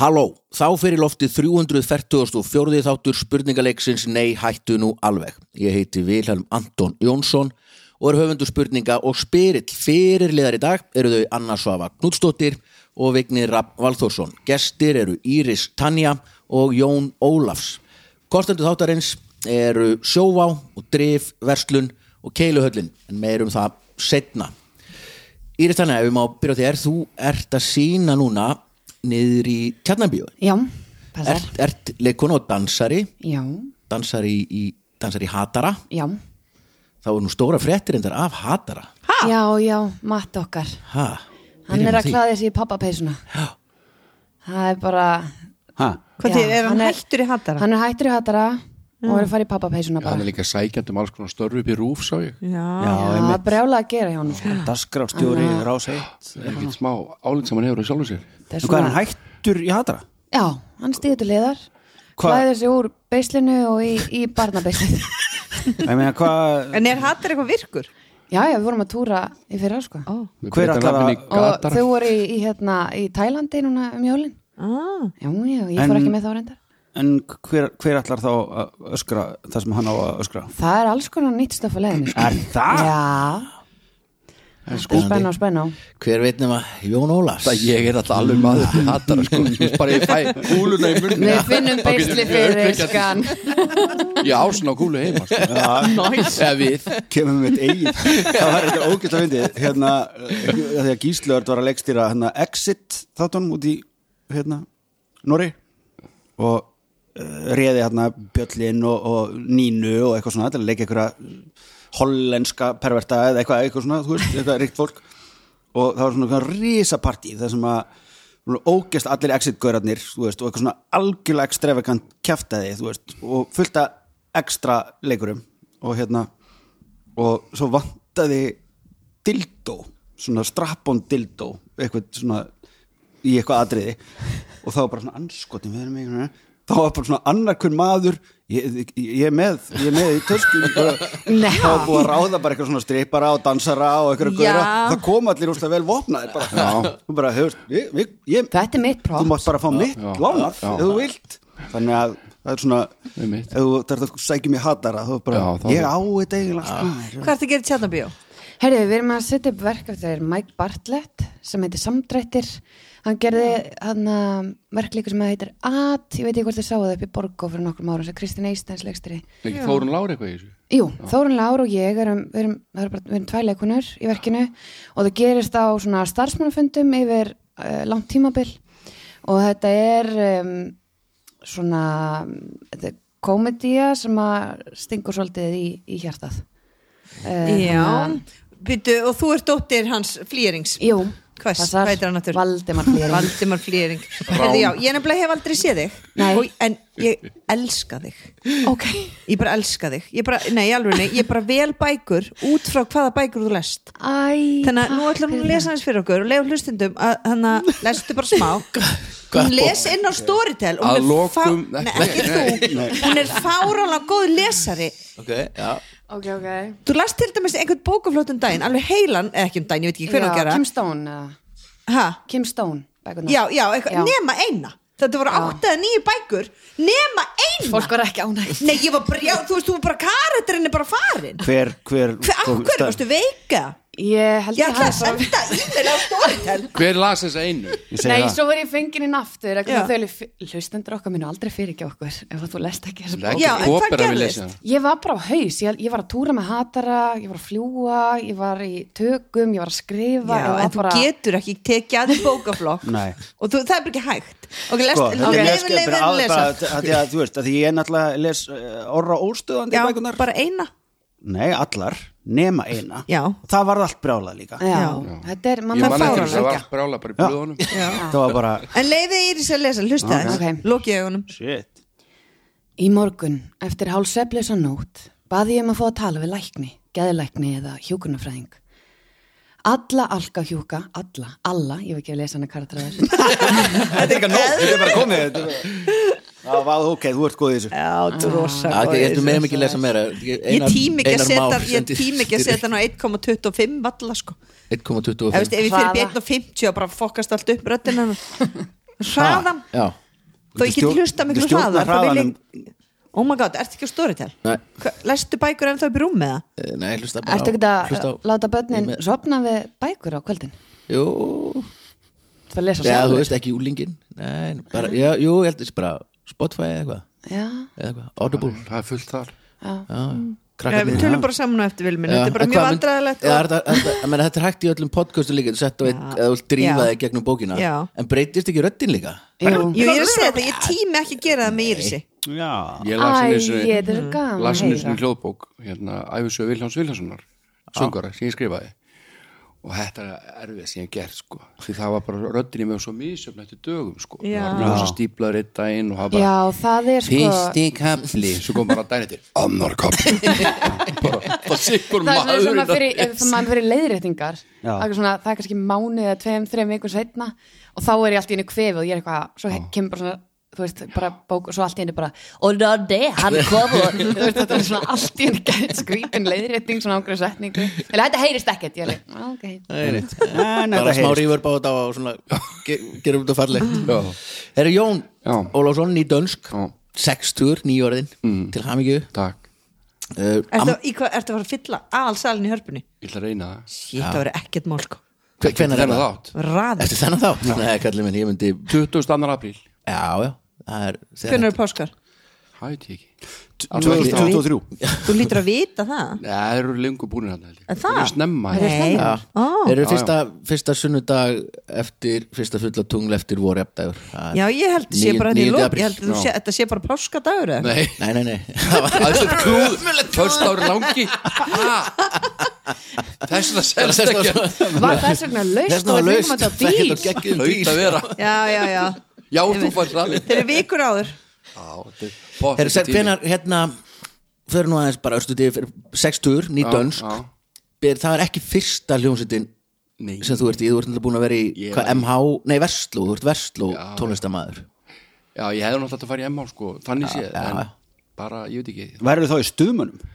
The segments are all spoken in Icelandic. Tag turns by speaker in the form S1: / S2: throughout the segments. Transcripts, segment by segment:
S1: Halló, þá fyrir loftið 344. þáttur spurningaleiksins Nei, hættu nú alveg. Ég heiti Vilhelm Anton Jónsson og er höfundu spurninga og spyrill fyrirliðar í dag eru þau Anna Svava Knútsdóttir og Vignir Rapp Valþórsson. Gestir eru Íris Tanja og Jón Ólafs. Kostendu þáttarins eru Sjóvá og Drif Verslun og Keiluhöllin, en meirum það setna. Íris Tanna, ef við má byrja á þér, þú ert að sína núna niður í Tjarnabíu.
S2: Já, passar.
S1: Ert, ert leikon og dansari,
S2: Já,
S1: dansari í, dansari í Hatara.
S2: já.
S1: Það voru nú stóra fréttir endar af Hatara.
S2: Já, já, Matt okkar.
S1: Ha,
S2: Hann er að klæða sig í pappapeysuna. Já. Það er bara...
S3: Ha?
S4: Hvað
S2: Já,
S4: þið, er hann
S2: hann er-
S4: hættur í Mm. hattara?
S2: Hann er hættur í hattara og er að fara í pappapeysuna
S3: Hann
S2: bara.
S3: er líka sækjandi um alls konar störru upp í rúf, sá ég.
S4: Ah, Já, Ah,
S2: Já, það er brjálega að gera hjá hann. Sko.
S5: Dasgrafstjóri rás 1
S3: Það er ekkert smá álinn sem hann hefur á sjálfum sér.
S2: Þetta
S5: En hvað er hann hættur í hatara?
S2: Já, hann stýður til liðar. Klæðir sig úr beislinu og í, í barnabeislinu.
S5: Ég meina hvað
S4: en er hattar eitthvað virkur?
S2: já, já, við vorum að túra í fyrra, sko. Oh.
S3: Við
S5: Hver
S3: breytum
S5: ætlar að-
S3: nafninu í
S2: Og
S3: Gatar.
S2: þau voru í, í, hérna, í Tælandi núna um jólinn.
S4: Ah.
S2: Já, já, ég
S5: En-
S2: fór ekki með þá reyndar.
S5: En hver, hver ætlar þá að öskra það sem hann á að öskra?
S2: Það er alls konar nýtt stöf að leiðinu. Sko.
S5: Er það?
S2: Já, spenna og spenna.
S1: Hver veit nema Jón Ólafs?
S3: Það ég er alltaf alveg maður til hattara sko Þú veist bara ég fæ kúluna í munni
S2: Við finnum beisli fyrir skan
S3: Ég ásinn á kúlu heima sko. nice. Eða við
S5: Kemur með mitt eigin Það var eitthvað ógæst að fyndi Hérna, eh, því að Gíslaörd var að leggstýra hérna, Exit þáttunum út í hérna, Norri og uh, reði hérna Bjöllin og, og Nínu og eitthvað svona til að leika einhverja hollenska perverta eða eitthvað, eitthvað svona, þú veist, eitthvað ríkt fólk og það var svona eitthvað risapartí þar sem að ógæst allir exit-gaurarnir, þú veist, og eitthvað svona algjörlega extravagant kjaftaði, þú veist og fullta ekstra leikurum og hérna og svo vantaði dildó, svona strappon dildó eitthvað svona í eitthvað atriði og það var bara svona anskotin við erum einhvern veginn þá var bara svona annarkun maður ég, ég, ég er með, ég er með í tösku
S2: Nei.
S5: þá var búið að ráða bara eitthvað svona stripara og dansara og eitthvað
S4: Já.
S5: gauðra það kom allir úrslega vel vopnaðir bara, Þú bara hefur, ég, ég, ég,
S2: Þetta er mitt
S5: þú
S2: próf
S5: mátt bara fá mitt
S3: já,
S5: lánað
S3: já.
S5: ef þú vilt þannig að það er svona
S3: Einmitt.
S5: ef þú þarf að sækja mér hatara þá er bara,
S3: Já, þá- Ah.
S5: ég á þetta eiginlega allt.
S4: Hvað ertu að gera í Tjarnabíó?
S2: Herri, við erum að setja upp verk eftir Mike Bartlett sem heitir Samdrættir Hann gerði hann verklíku sem heitir At, ég veit ekki hvort þið sáu það upp í Borgó fyrir nokkrum árum sem Kristín Eistens leikstri
S3: Ekki Þórun Lári eitthvað í þessu
S2: Jú, Þórun Lár og ég erum, við erum, við erum, bara- við erum tvæleikunur í verkinu og það gerist á svona starfsmannafundum yfir uh, langt tímabil og þetta er um, svona þetta er komedía sem að stingur svolítið í, í hjartað. Uh,
S4: Já, Býtu, og þú ert dóttir hans flýrings
S2: Jú,
S4: Hvers?
S2: passar.
S4: Hvað heitir hann aftur?
S2: Valdimar Flýring.
S4: Valdimar flýring Herðu, já, Ég nefnilega hef aldrei séð þig
S2: Nei.
S4: og, En ég elska þig
S2: Ok.
S4: Ég bara elska þig Ég bara, nei, alveg nei, ég bara vel bækur út frá hvaða bækur þú lest
S2: Æ,
S4: Þannig að nú
S2: takk
S4: ætlar hún að
S2: fyrir
S4: lesa hans fyrir okkur og leiða hlustendum að hann að lestu bara smá hún les inn á Storytel og hún
S3: Að
S4: er
S3: lokum-
S4: fá... nei, ekki þú hún er fárálega góð lesari
S1: Ok, já.
S2: það. Ok, ok.
S4: þú last til dæmis einhvern bókaflót um daginn alveg heilan, eða ekki um daginn, ég veit ekki hvernig
S2: Já,
S4: að gera
S2: Kim Stone, eða?
S4: ha?
S2: Kim Stone. bækurnar.
S4: já, já, eitthvað,
S2: Já.
S4: nema eina þetta voru átta eða nýju bækur nema eina
S2: Fólk var ekki ánægt.
S4: nei, ég var bara, já, þú veist, þú var bara karakterinn er bara farin
S5: hver, sko, hver,
S4: hver, af hverju varstu veika?
S2: Ég held
S4: ég
S2: ég
S4: ætla að
S2: hafi bara-
S4: senda e-mail á Storytel
S3: Hver las þessa einu?
S2: Nei,
S5: veist
S2: svo var ég fengin inn aftur að
S4: Já.
S2: þau eru f- hlustendur okkar minu aldrei fyrir ekki okkur ef að þú lest ekki þessu bók.
S3: Ekki
S4: Já, en hvað
S3: kopera við
S4: gerðist?
S3: lesa hana.
S2: Ég var bara á haus, ég, ég var að túra með hatara, ég var að fljúa, ég var í tökum, ég var að skrifa.
S4: Já,
S2: ég var
S4: en þú
S2: bara...
S4: getur ekki tekið að þið bókaflokk
S5: Nei.
S4: og þú, það er bara ekki hægt ok, lest,
S5: sko,
S4: okay.
S5: þetta er
S4: leiðu,
S5: lesk-
S4: leiðu,
S5: bara
S4: leiðu,
S5: að-
S4: lesa
S5: bara- að því að þú veist, að því ég náttúrulega les eh, orra óstöðandi
S4: já,
S5: bækunar
S4: bara eina
S5: nei, allar, nema eina
S4: Já.
S5: það var allt brjálað líka
S2: Já,
S4: Já.
S2: þetta er,
S3: Ég
S2: mann
S3: man
S2: þarf
S3: eftir
S2: að
S3: þess að það
S2: fá hana.
S3: var brála bara í blöðunum
S5: það var bara,
S4: en leiðið Íris að lesa, hlusta þess
S2: Ok.
S4: lokið augunum
S5: shit
S2: Í morgun, eftir hálseflösa nótt, baði ég um að fá að tala við lækni, geðlækni eða hjúkunarfræðing. Alla alka hjúka, alla, alla, ég veit ekki að lesa hana karatræður.
S5: þetta er ekki nóg, þetta er bara komið þetta er bara- Já, vá, ok, þú ert góð í þessu
S4: já, þú rosa
S1: Ah, ég ætlum meðum ekki að lesa meira.
S4: ég
S1: Einar-
S4: tím ekki að
S1: Einar
S4: setja
S1: Már
S4: ég
S1: sendi-
S4: tím ekki að setja hann á 1,25 valla sko, ef,
S1: 1,25
S4: veist, ef ég fyrir
S2: Hvaða?
S4: upp í 1,50 og bara fokast allt upp röddina hraðan
S1: já,
S4: þó ég get
S5: Stjórn-
S4: hlusta miklu
S5: stjórna
S4: hraðar þá vil
S5: hraðanum.
S4: ég- oh my god, ertu ekki á storytel
S1: Nei.
S4: Hva- lestu bækur ennþá upp í rúm með það
S1: Eh, nei, hlusta bara
S2: Ertu
S1: á-
S2: ekki að uh,
S1: hlusta á-
S2: láta börnin
S1: Ég með-
S2: sopna við bækur á kvöldin?
S1: Jú,
S2: Það
S1: já,
S2: lesa
S1: þú
S2: sjálfur
S1: veist ekki úlingin Nei, bara, já, jú, ég held þessi bara Spotify eða eitthvað,
S2: Já,
S1: eða eitthvað, Audible
S6: það er fullt þar
S2: já,
S1: Já,
S4: Já,
S1: krakkarnir
S4: við tölum bara saman á eftir vilminn þetta er bara mjög vandræðilegt
S1: ja,
S4: og-
S1: þetta, þetta, ég meina, þetta er hægt í öllum podcastu líka þú sett á eitt,
S4: Já.
S1: eða þú drífa
S4: Já.
S1: þig gegnum bókina
S4: Já.
S1: en breytist ekki röddin líka
S2: Jú.
S4: Jú, ég er að segja þetta, ég tími ekki að gera það með Írisi
S5: Já,
S6: ég las
S2: Æ,
S6: henni þessu
S2: þetta er gaman
S6: las henni
S2: að
S6: þessu
S2: heyra.
S6: hljóðbók hérna, æfisöð Viljáns Viljánssonar söngara sem ég skrifaði og þetta er erfið sem ég hef gert sko því það var bara röddinni með svo misjöfn eftir dögum sko,
S4: Já.
S6: það var rosa stíplaður einn daginn og það bara
S2: já, það er sko
S1: fyrsti kapli
S6: svo kom bara dæn eftir annar kappi bara, bara sikkur
S2: Það er svona,
S6: maður
S2: svona fyrir, ef maður fyrir leiðréttingar
S5: Já.
S2: það er, svona, það er kannski mánuð eða tveim, þreim vikur setna og þá er ég allt í einu kvefið og ég er eitthvað, svo he- kemur bara svona þú veist, bara bók og svo allt í einu bara og ná, nei, hann kom og þú veist, þetta er svona allt í einu gæt skrítin leiðrétting svona ákveð setningu, eða þetta heyrist ekkert ég er alveg, "Ah, ok,
S5: en
S1: bara
S5: þetta
S1: smá
S5: heyrist
S1: rífur báða og svona ge- gerum þetta
S4: Mm.
S1: farlegt Herra Jón
S6: Já.
S1: Ólafsson í dönsk
S6: Já.
S1: 60, nýjörðin, mm. til hamingju
S6: takk,
S1: uh,
S4: Ertu í hvað- ertu að fara að fylla alsalinn í hörpunni?
S6: ég ætla að reyna það
S4: Shit, það verður ekkert mál sko
S1: Hvernig er
S6: þennan
S1: það?
S6: þátt,
S4: Ræður,
S1: Eftir þennan þátt? Nei, kallið minn, ég myndi
S6: 22. apríl
S1: Já, já, það er
S4: hvernig eru páskar?
S6: hætti ekki,
S5: Tvö- 2023
S4: Þú lítur að vita það
S6: Nei, það eru lengur búinir hann
S4: En
S6: það
S4: það?
S6: eru snemma
S4: Það er
S6: held ég.
S4: snemma.
S1: Já,
S4: Ó.
S1: eru fyrsta, fyrsta sunnudag eftir, fyrsta fulla tungl eftir voru eftir
S4: Já, ég held að sé bara þetta í lók Ég held að þú
S6: Já.
S4: sé- þetta sé bara páskadagur eða?
S6: nei,
S1: Nei, nei, nei
S6: Það er svona klúð Först ári langi Þess að selst ekki
S2: var þess vegna laust og við fengum þetta á bíl
S1: Það getur geggjum
S6: Laut að
S1: bíl
S6: vera
S4: Já, já, já
S6: Já,
S4: Ég
S6: þú
S4: veit.
S6: fannst það
S4: Þeir eru vikur áður
S1: Herru, sér, hvenar, hérna Fyrir nú aðeins bara östuði Sextur, ný dönsk
S6: já.
S1: Ber- Það er ekki fyrsta hljómsveitin
S6: Nei.
S1: sem þú ert í, þú ert náttúrulega búin að vera í
S6: Ég
S1: hvað,
S6: var í-
S1: MH, nei Vestló, þú ert Vestló tónlistamæður
S6: Já, ég hefði náttúrulega átt að fara í MH sko Þannig séð En bara, ég veit ekki
S5: Verður þá í stuðmunum?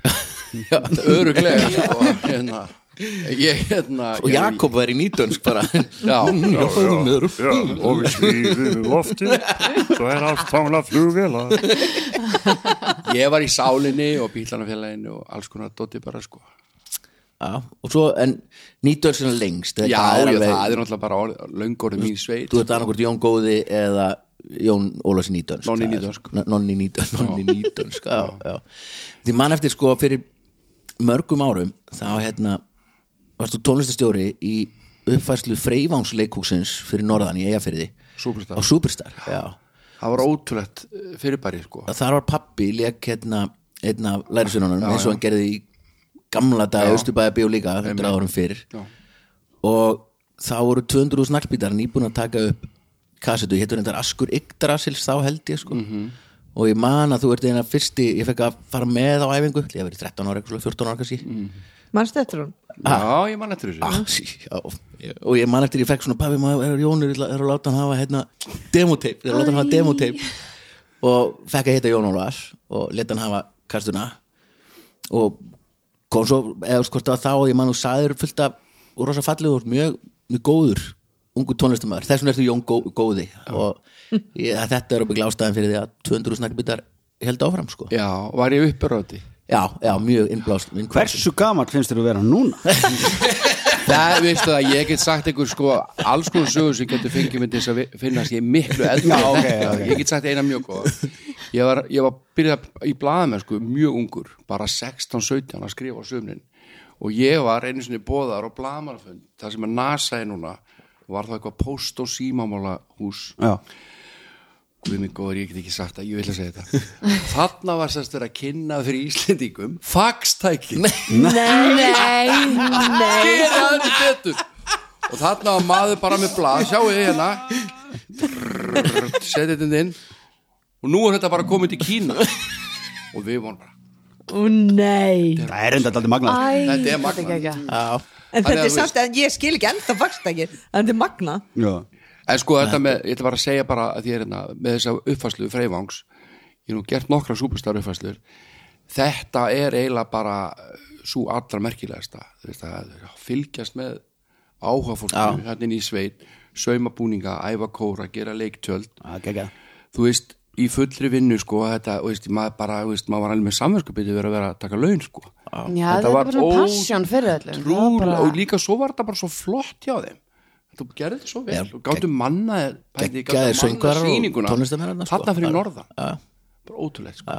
S6: Öruglega sko Hérna Ég hérna
S1: og Jakob var í nýdönsk bara
S6: Já, já, já
S7: Já, og við svíðum í lofti Svo er allt támla flugvela
S6: Ég var í sálinni og bílanafélaginu og alls konar dotti bara sko
S1: Já, og svo, en nýdönsk er lengst
S6: Já,
S1: þetta
S6: já,
S1: er
S6: það er
S1: alveg-
S6: náttúrulega bara orð- löngorðið mín sveit
S1: Þú ert annarkvort Jón Góði eða Jón Ólafs Nýdönsk
S6: Nonni Nýdönsk.
S1: N- Nonni Nýdönsk, Nonni Nýdönsk já, já. Því mann eftir sko fyrir mörgum árum þá hérna varstu tónlistastjóri í uppfærslu Freyvánsleikúksins fyrir norðan í Eyjafyrði
S6: Superstar.
S1: á Superstar já.
S6: Það var ótrúlegt fyrirbæri sko
S1: Þar var pappi lék hérna einna lærisvinunum eins og hann gerði í gamla dag Östubæða bíó líka 100 árum fyrir
S6: Já.
S1: og þá voru 200 snarkbítar nýbúin að taka upp kassetu, héttur þetta Askur Yggdrasils þá held ég sko
S6: Mhm.
S1: og ég man að þú ert eina fyrsti ég fekk að fara með á æfingu ég hef verið 13 ára, eitthvað, 14 ára kannski
S6: Mhm.
S4: Manstu eftir hún?
S6: Já, ég man eftir þessu
S1: ah, sí, já, og ég man eftir ég fekk svona pabbi, maður er Jónur, ég ætla- er að láta hann hafa hérna, demotape, er að láta hann hafa demotape og fekk að heita Jón Ólafs og leta hann hafa kastuna og kom svo eða þú veist hvort það var þá og ég man og sagður fullt af og rosa fallið og mjög, mjög góður ungu tónlistamæður, þess vegna ertu Jón gó, góði og ég, þetta er uppið ástæðan fyrir því að 200 snakkbyttar held áfram sko
S6: Já, var ég uppuröði
S1: já, já, mjög innblást innblást.
S5: Hversu gamall finnst þér að vera núna?
S6: Það veistu það, ég get sagt ykkur sko alls konar sögur sem getur fengið mig til þess að vi- finnast ég miklu eldri
S5: Já,
S6: en
S5: ok,
S6: þetta.
S5: ok.
S6: Ég get sagt eina mjög góða Ég var, ég var byrjað í blaðamenn sko mjög ungur, bara 16-17 að skrifa á sömnin og ég var einu sinni bóðar á blaðamannafund það sem er NASA er núna var það eitthvað post- og símamála hús
S5: Já,
S6: Guð minn góður, ég get ekki sagt að ég vil að segja þetta Þarna var sérst verið að kynna fyrir Íslendingum Faxtæki Nei,
S2: Nei,
S6: gera þetta betur Og þarna var maður bara með blað Sjáu þið hérna Brrrr, Setið þetta inn Og nú er þetta bara komið til Kína Og við vorum bara
S4: Ó nei
S5: það er enda alltaf magnað
S2: æ,
S6: Þetta er
S2: þetta er
S6: magnað.
S2: geggjað.
S1: já,
S4: En
S6: Þannig
S4: þetta
S6: að
S4: er
S6: þú
S4: samt að ég skil ekki enda fagstakir En þetta er magna
S5: Já,
S6: En sko þetta með, ég ætla bara að segja bara að því er hérna með þessa uppfæslu Freyvangs ég hef nú gert nokkra superstar uppfæslur þetta er eiginlega bara eh, svo allra merkilegasta þetta, fylgjast með áhuga fólk hérna inn í sveit saumabúninga, æfa kóra, gera leiktjöld
S5: Það er geggjað.
S6: þú veist, í fullri vinnu sko, þetta, þú veist, maður bara, þú veist, maður var alveg með samverskupið verið að vera að taka laun sko.
S2: Já, þetta var bara svona passion fyrir öllum. Það var
S6: trúlega,
S2: bara-
S6: og líka svo var þetta bara svo flott hjá þeim þú gerði þetta svo vel, þú gáttu manna
S1: geggjaðir söngvarar og
S6: sýninguna
S1: tónlistarmenn þarna, sko.
S6: þarna fyrir
S1: Já.
S6: norðan bara ótrúlegt sko.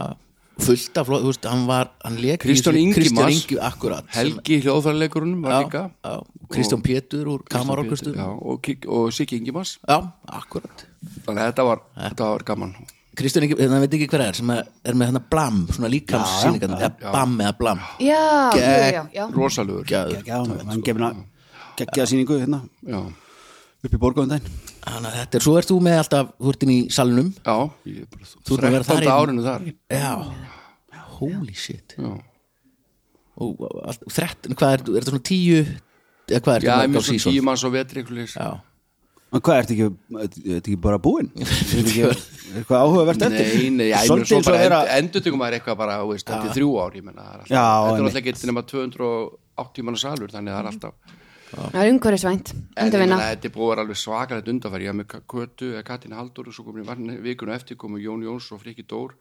S1: fullt af flott, þú veist, hann var hann leik
S6: Kristján
S1: Kristján
S6: Ingimars,
S1: Ingi, akkurat
S6: Helgi hljóðfærileikurunum var líka
S1: já, já, Kristján Pétur úr Kamarorkustu
S6: Já,
S1: já,
S6: og, Kik- og Siggi Ingimars
S1: akkurat
S6: þannig að þetta var, þetta var gaman
S1: Kristján Ingi, þannig að veit ekki hver er sem er, er með hann að blam, svona líkamssýningan eða bam eða blam
S2: Já, já, já, já.
S6: rosalögur já.
S1: Gæður.
S5: Já, hann gefna geggjað sýningu hérna
S6: já,
S5: upp í borgum daginn
S1: þannig að þetta er, svo ert þú með alltaf þú ert inn í salnum
S6: ég er bara
S1: Þú ert að vera þar
S6: 13.
S1: í-
S6: árinu þar
S1: já, holy shit
S6: já,
S1: og allt- 13, hvað er, er þetta svona 10 eða hvað er
S6: já
S1: þetta mörg
S6: ég
S1: á
S6: mjög svo
S1: sísón
S6: tíu manns á vetri einhver leys.
S1: já,
S5: En hvað, ertu ekki, ertu ertu ekki bara búinn? Ertu ekki- er eitthvað áhugavert eftir?
S6: Nei, nei, já, ég mjög
S5: Svolítið
S6: svo
S5: eins og
S6: bara
S5: að
S6: vera...
S5: vera-
S6: endur tegum maður eitthvað bara, þú veist, þetta er þrjú ár, ég menna það er alltaf,
S5: Já,
S6: þetta er
S5: einmitt.
S6: alltaf ekki nema 280 manna salur, þannig að það er alltaf
S2: Það er umhverfisvænt,
S6: en ég
S2: endurvinna.
S6: meina, þetta er búið að vera alveg svakalegt undanfæri ég haf með K- Kötu, eða Katin Haldur og svo komin í vann vikuna eftir komu Jón Jóns og Friki Dór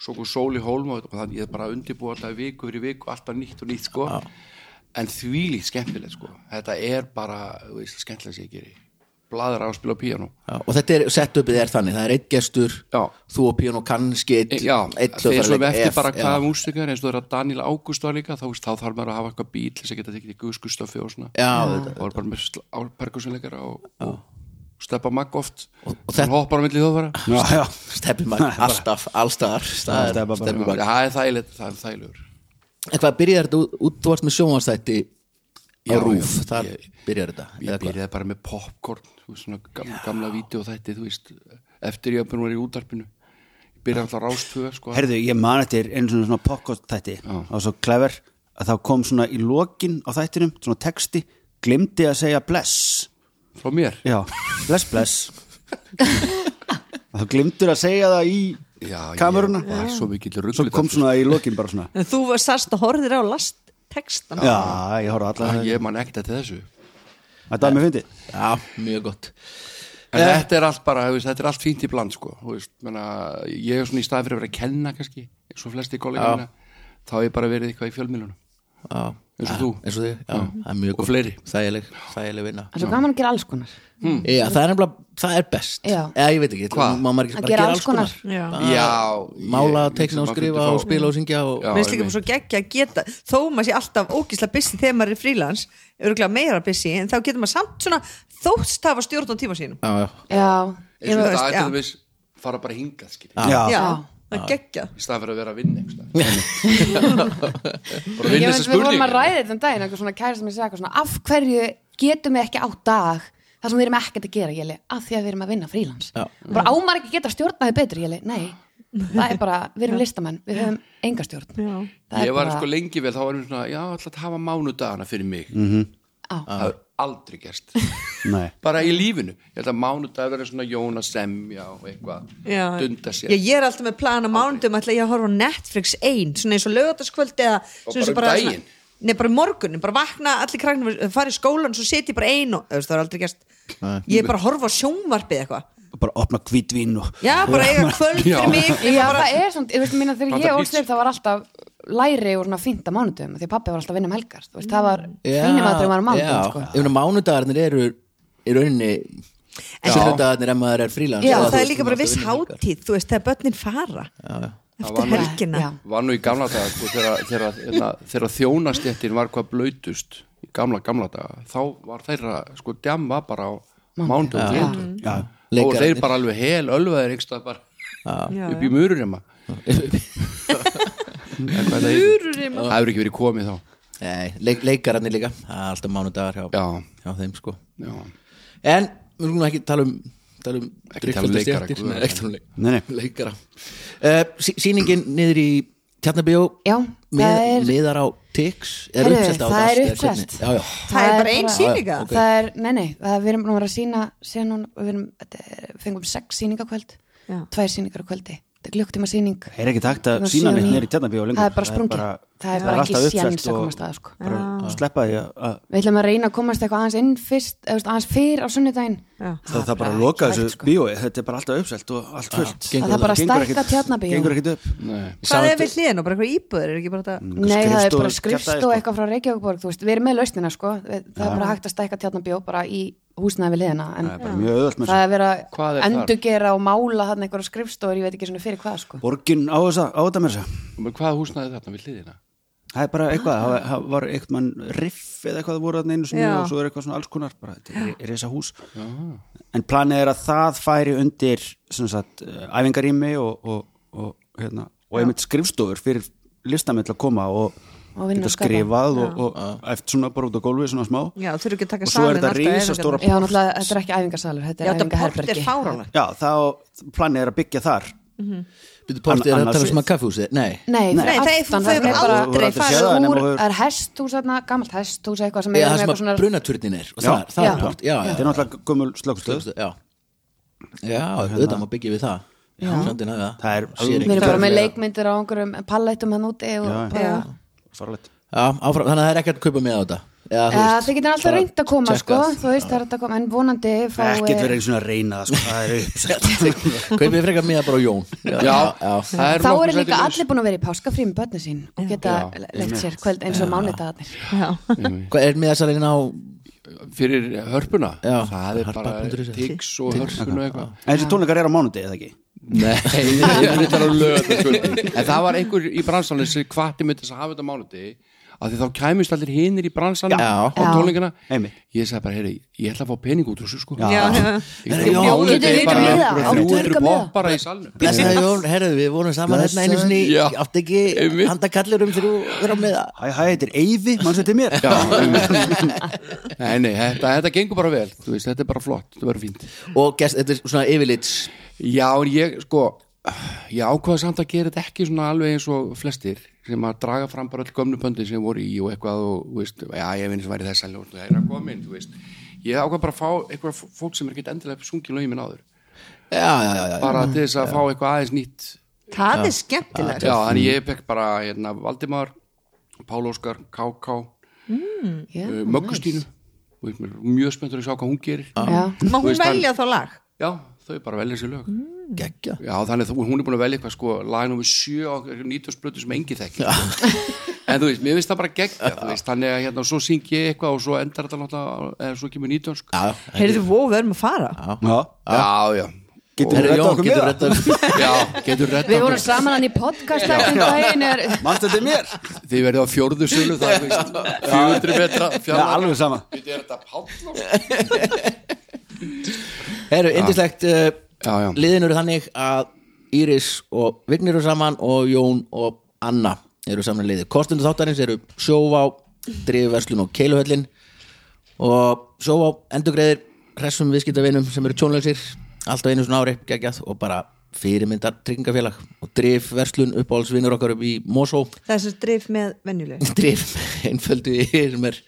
S6: svo kom Sóli Hólm og þannig ég er bara undirbúið alltaf viku fyrir viku alltaf nýtt og nýtt sko en þvílíkt skemmtilegt sko þetta er bara, þú veist, skemmtilegt sem ég geri bladra á að spila á píano
S1: já, og þetta er, setupið er þannig, það er einn gestur
S6: Já.
S1: þú og píón og kannski einn
S6: E- Já,
S1: einn
S6: þeir svo
S1: hljóðfæraleik,
S6: eftir
S1: ef-
S6: bara
S1: já.
S6: hvaða músikar eins og það er að Daniel Ágúst var líka þá, veist, þá þarf maður að hafa eitthvað bíl sem geta tekið í guðskustafi og svona
S1: Já,
S6: og það er bara með sl- á perkussinleikara og, og steppa makk oft
S1: Og-
S6: og,
S1: og
S6: og
S1: þetta-
S6: hoppar á milli þófara
S5: Já, já,
S1: Steppi Mag, alltaf, allstaðar
S5: Stebbi Mag.
S1: Steppi Mag
S6: það er þægilegt, það er þægilegur
S1: En hvað byrjar þetta út- út, þú varst með sjónvastætti á
S6: Já,
S1: rúf,
S6: já,
S1: þar
S6: ég-
S1: byrjar þetta eða
S6: ég
S1: hvað?
S6: byrjaði bara með popcorn þú veist, svona gamla, gamla vídeoþætti, þú veist eftir ég að búin var í útarpinu ég byrjaði alltaf rástöð sko.
S5: herðu, ég man eftir einu svona, svona pokkostætti það var svo clever að þá kom svona í lokin á þættinum, svona texti glimti að segja bless
S6: frá mér
S5: Já, bless, bless og þá glimtur að segja það í kameruna
S6: ég var svo mikill rugglut
S5: svo kom svona í lokin bara svona
S4: En þú var sast og horfðir á last textan
S5: Já, ég horfði allar
S6: ég man ekkert eftir þessu
S5: Þetta var mér fyndið
S1: Já, mjög gott
S6: En
S1: Eh.
S6: þetta er allt bara, þú veist, þetta er allt fínt í bland sko, þú veist, menna, ég er svona í staði fyrir að vera að kenna kannski, eins og flesti kollegaðina, þá hef ég bara verið eitthvað í fjölmjölunum
S1: Já,
S6: Eins og þú. Mm.
S1: eins og þið, já, það er mjög
S6: Og fleiri.
S1: Þægileg, þægileg vinna
S2: Það er svo gaman að gera alls konar.
S1: Já, það er nefnilega, það er best
S2: Hm. Já.
S1: Eða ég veit ekki,
S6: Hvað?
S1: Má maður ekki
S2: Að
S1: bara
S2: gera alls konar.
S4: Já.
S6: Já,
S1: Ah. Mála,
S6: ég-
S1: teikna og
S6: maður
S1: skrifa
S6: myndi
S1: og
S6: fá-
S1: spila og syngja og
S6: Já.
S4: Mér finnst líka
S6: einmitt.
S4: bara svo geggja að geta þó maður sé alltaf ógísla busy þegar maður er frílans örgulega meira busy en þá getur maður samt svona þótt hafa stjórn á tíma sínum
S1: Já, já.
S2: Já,
S4: Ég
S6: Eins og þetta
S4: veist, já.
S6: aðeins viss, fara bara hingað skil,
S1: Ah.
S5: Já,
S4: Já, það er geggja
S6: í staði fyrir að vera að vinna einhvers staðar. Bara
S2: Ég
S6: vinna
S2: veit,
S6: þessa
S2: við vorum að
S6: spurningar.
S2: ræða þetta um daginn eitthvað svona kæri sem ég segja eitthvað svona af hverju getum við ekki á dag það sem við erum ekkert að gera, Jeli, af því að við erum að vinna frílans bara ámar ekki að geta stjórnaði betur, Jeli, nei það er bara, við erum listamenn, við höfum enga stjórn Já.
S6: Ég var sko lengi vel, þá varum við svona, já, alltaf að hafa mánudagana fyrir mig.
S1: Mhm.
S2: Á.
S1: Ah.
S6: Það er aldrei gerst.
S5: nei
S6: Bara í lífinu. Ég held að mánudag verður svona Jónas semja og eitthvað,
S4: Já.
S6: dunda sér.
S4: Já, ég er alltaf með plana mándum ætla ég að horfa á Netflix ein svona eins og lögataskvöld eða svona eins
S6: bara um
S4: svona-
S6: daginn?
S4: Nei, bara morgunin, bara vakna allir kraknir, fara í skólan, svo setja ég bara ein og þú veist, það er aldrei gerst Ég er bara að horfa á sjónvarpið eitthvað
S5: Og bara opna hvítvín og
S4: Já, bara eiga kvöld
S6: Já.
S4: fyrir mig
S2: Já, það er svona, ég veist, minna, þegar
S6: Bara
S2: ég ólst
S6: beach.
S2: upp það var alltaf læri og svona fínt að mánudum því að pappi var alltaf að vinna um helgar, þú veist, það var
S1: Já,
S2: fínum aðrið var á
S1: já.
S2: mánudum, sko
S1: Ég meina, mánudagarnir eru í rauninni Sunnudagarnir ef maður er frílans
S4: Já,
S1: eða þú
S4: það er
S1: veist,
S4: líka
S1: þú
S4: bara
S1: mátt að
S4: viss
S1: vinna helgar.
S4: hátíð, þú veist, þegar börnin fara eftir
S6: var-
S4: helgina
S2: Já.
S6: var nú í gamla daga sko, þegar, þegar, þegar, þegar þjónastettin var hvað blautust í gamla, gamla daga þá var þeirra, sko, djam var bara á mándum og glindu
S5: Já,
S6: og
S1: Leikararnir.
S6: þeir bara alveg hel ölvaðir einhverstað bara
S4: Já,
S6: upp í mururima mururima það hefur ekki verið komið þá
S1: Nei, leik, leikararnir líka það er alltaf mánudagar hjá,
S6: Já.
S1: hjá þeim sko
S6: Já.
S1: en við skulum ekki tala um tala um
S6: Ekki tala um
S1: drykkfellda
S6: leikara,
S1: stéttir.
S6: guð.
S1: Nei, ekki tala um leik,
S5: Nei, nei.
S1: leikara uh, sí, sýningin niður í Tjarnabíó
S2: Já,
S1: mið,
S2: það er-
S1: miðar á Tix er
S2: Heyrðu,
S1: uppselt á
S2: það er
S1: Dast, eða hvernig?
S2: uppselt.
S1: já, já,
S4: Það er bara ein sýninga?
S1: ok.
S2: Það er, nei, nei, það, við erum nú að vera að sína síðan hún, við erum, þetta er- fengum sex sýningakvöld,
S4: Já.
S2: tvær sýningar á kvöldi þetta er glögtíma sýning
S5: er ekki takt að
S2: Svona
S5: sína
S2: síðan
S5: neitt
S2: í-
S5: nýri tjarnabíó lengur
S2: Það er bara sprungið.
S5: bara-
S2: það
S5: Það
S2: er
S5: er
S2: bara ekki
S5: alltaf uppselt
S2: séns að
S5: og-
S2: komast að sko.
S5: bara sleppa því að- að
S2: við ætlum að reyna að komast eitthvað aðeins inn fyrst, eða, þú veist, aðeins fyrr á sunnudaginn
S4: Já.
S5: það, það bara
S2: ekki
S5: loka
S2: hægt,
S5: þessu
S2: sko.
S5: bíói þetta er bara alltaf uppselt og allt fullt
S2: Að það bara
S5: Gengur
S2: stækka
S5: ekkit-
S2: tjarnabíó.
S5: gengur ekkit upp
S6: Nei.
S4: Hvað er við hliðin og bara eitthvað íbúður er ekki bara þetta
S2: Nei, það er
S5: skrifstofu-
S2: bara skrifst og
S5: kjaftaði, sko.
S2: eitthvað frá Reykjavíkborg þú veist, við erum með lausnina sko Við- það er bara hægt að stækka tjarnabjó bara í húsnaði við liðina en
S5: það er bara mjög öðvöld með
S2: það
S5: þessu
S2: er verið
S6: Hvað
S2: að
S6: er þar?
S2: endugera og mála þarna einhverja skrifstofur, ég veit ekki svona fyrir hvað sko
S5: borgin á þessa- á þetta með þessa
S6: Men Hvað húsnaði þarna við hliðina?
S5: það er bara eitthvað, það var- það var eitthvað mann riff eða eitthvað það voru þarna einu sinni
S4: Já.
S5: og svo er eitthvað svona alls konar bara, þetta er reysa hús en planið er að það færi undir sem sagt, eh, æfingarými og, og, og, hérna, og einmitt skrifstofur fyrir listamenn til að koma og,
S2: Og vinna
S5: geta
S2: og skapa.
S5: skrifað og, og eftir svona bara út á gólfi svona smá
S4: Já, þurfum ekki að taka
S5: og svo er
S4: salinn
S5: þetta
S4: alltaf í
S5: reysa
S4: æfingarnar.
S5: stóra
S2: Já, náttúrulega, þetta er ekki æfingarsalur, þetta
S4: Já,
S2: er
S4: þetta port er
S2: æfingaherbergi
S4: fáranlega
S5: já, þá planið er að byggja þar
S1: Býttu portið er
S5: Annars-
S1: að tala um að kaffehúsi Nei,
S2: Nei, fyrir
S4: Nei, það er-
S2: aftan,
S4: þau
S2: það
S4: eru
S2: er bara
S5: aldrei farið.
S2: skúr,
S5: Nema þú-
S2: það er hesthús þarna, gamalt hesthús eitthvað sem
S1: Eða það
S2: er með
S1: sem
S2: eitthvað
S1: að
S2: svona
S1: brunaturnin er og
S5: Já.
S1: það, það
S2: Já.
S1: er port, já,
S5: þetta er náttúrulega gömul slöggstöð
S1: já Já, já auðvitað má byggja við það Já, sandinn að það
S5: það er
S1: Sér
S2: Við
S1: ekki.
S5: alveg
S2: erum bara með leikmyndir á einhverjum pallættum hann úti og
S5: Já,
S2: bara,
S4: já.
S5: farlegt
S1: Já, áfram, þannig að það er ekkert að kaupa með á þetta Já,
S2: ja, þið getur alltaf reynd að koma sko,
S1: checkað.
S2: þú veist það er hægt að koma, en vonandi eh, fái
S5: ekkert verið einu svona að reyna það, sko, það er uppsett
S1: Kaupið frekar með bara á Jón Já, já
S6: það
S2: Þá
S6: nokkuð
S2: eru líka
S6: sæti
S2: allir búin að vera í páskafrí með börni sín og geta leitt sér kvöld eins og mánudagarnir
S1: Hvað er með þessar einn á
S6: laus. Fyrir hörpuna
S1: Já,
S6: Það er
S1: harpa
S6: bara
S1: punktur is.
S6: tíks og hörpun og eitthvað
S5: En þessi tónleikar er á mánundi eða ekki?
S1: Nei,
S6: en það var einhver í bransanlega sem hvati með þess að hafa þetta á mánuði að því þá kæmust allir hinir í bransanlega
S1: Já.
S6: á tólingina
S5: Einmitt.
S6: ég sagði bara, heyri, ég ætla að fá pening út úr þessu sko
S4: Já, já.
S1: Herri, Jón,
S2: getum við ekki
S6: bara
S2: með það? Áttu við
S6: 300
S2: ekki með
S6: bob
S2: það?
S6: bara í salnum
S1: blessaði Jón, herruðu, við vorum saman hérna einu sinni
S6: Já.
S1: Ég átti ekki
S6: Einmitt.
S1: handa kallir um þrjú vera með það
S5: Hæ, hæ, þetta er Eyfi, mannstu þetta er mér?
S6: Já, einmitt. nei, nei, þetta, þetta gengur bara vel þú veist, þetta er bara flott, þetta verður fínt
S1: Og gerst, þetta er svona yfirlits
S6: já, en ég, sko ég ákvaða samt að gera þetta ekki svona alveg eins og flestir sem að draga fram bara öll gömnu böndin sem voru í og eitthvað og, þú veist, já, ég vinn sem væri þess að það er að koma inn, þú veist ég ákvaða bara að fá eitthvað fólk sem er ekkert endilega sungið lögin minn áður,
S1: Já, já, já, já
S6: bara til þess að fá eitthvað aðeins nýtt
S4: Það er skemmtilegt
S6: já, þannig ég fekk bara, hérna, Valdimar Pál Óskar, K.K.
S2: Já,
S6: uh, Möggustínu Þú veist, mér er mjög spenntur að sjá hvað hún gerir
S2: Já,
S4: Má
S6: Þú
S4: hún
S6: veist, hann-
S4: velja þá lag?
S6: já, þau bara velja sér lög
S1: Gekkja
S6: Já, þannig að hún er búin að velja eitthvað sko lag nummer 7 á 90 splötu sem engi þekki en þú veist, mér finnst það bara geggja þú veist, þannig að hérna, svo syng ég eitthvað og svo endar þetta náttúrulega, eða svo kemur 90 sko.
S1: Já,
S4: Heyrðu, vó, við erum að fara
S5: Já,
S6: Já, já
S5: getur
S1: herru
S5: þetta
S1: Jón,
S5: okkur með
S1: getur
S5: það?
S1: þetta
S6: Já, getur redd
S2: við vorum saman hann í podcast um daginn er
S5: Mannstu þetta er mér?
S6: Þið verðið á fjórðu sölu það, þú veist, 400 metra
S5: Já,
S6: fjarlæg
S5: alveg sama
S6: Þetta er þetta pál
S1: Herru, indislegt
S6: Já, já.
S1: Liðin eru þannig að Íris og Vignir eru saman og Jón og Anna eru saman í liði Kostundu þáttarins eru sjóvá Drifverslun og keiluhöllin og sjóvá endugreðir hressum viðskiptavinum sem eru tjónlegsir alltaf einu svona ári, geggjað og bara fyrirmyndar tryggingafélag og drifverslun uppáhaldsvinur okkar upp í Mosó
S4: Það er sem drif með venjuleg
S1: drif einföldu yfir sem er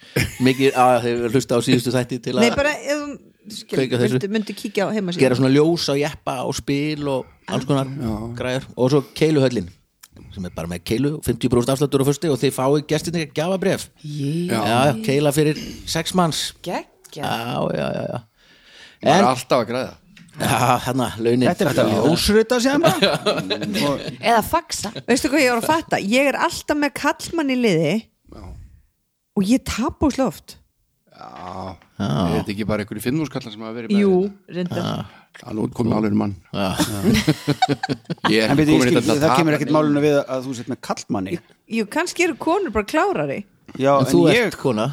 S1: mikið að þau hlusta á síðustu þætti til
S4: Nei,
S1: að
S4: bara, ef hún- skil,
S1: Kveikja þessu.
S4: myndu, myndu kíkja á heimasíðu
S1: gera svona ljós á jeppa og spil og alls konar græjar og svo keiluhöllin sem er bara með keilu, 50% afsláttur á fyrsti og þið fáið gestinni að gjafa bref já, já, keila fyrir sex manns
S2: geggja
S1: já, já, já, já
S6: Það er
S1: en,
S6: alltaf að græða
S1: já, hérna, launin
S5: Þetta er þetta ljósrita sem bara Og
S2: eða faxa
S4: Veistu hvað ég var að fatta? Ég er alltaf með kallmann í liði og ég tap úr slóft
S6: Já, er þetta ekki bara einhverju fimmúskallar sem hafa verið með
S4: Jú, reyndar
S1: Ah.
S6: þetta? Nú komið alveg mann Ég er
S5: En veit
S6: ekki
S5: ég skil,
S6: komin hérna til að
S5: það
S6: tapa
S5: kemur ekkert málunum við að þú sett með kallmanni
S4: Jú, kannski eru konur bara klárari
S5: Já,
S1: en þú
S5: en ég
S1: ert kona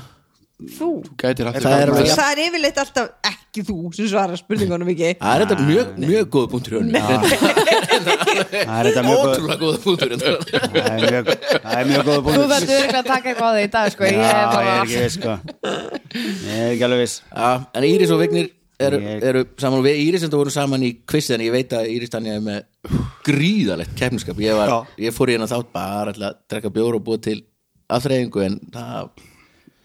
S4: Þú
S6: Gætir aftur
S1: Það er alveg-
S4: Það er yfirleitt alltaf ekki þú sem svarar spurningunum ekki
S1: það er þetta mjög, mjög góð punktur Jón.
S5: Það er þetta mjög góð
S1: ótrúlega góð punktur Jón.
S5: Það er mjög, það er mjög góð
S2: Þú
S5: búin
S2: verður örgulega að taka eitthvað á því í dag sko,
S5: Já,
S2: ég er
S5: ég
S2: bara
S5: er ekki viss sko Ég er ekki alveg viss
S1: Já, en Íris og Vignir eru,
S5: Ég-
S1: eru saman og við Íris enda vorum saman í quiz en ég veit að Íris Tanja er með gríðalegt keppniskap ég, var, ég fór í hennar þátt bara ætla að drekka bjór og búa til aðþreyingu en það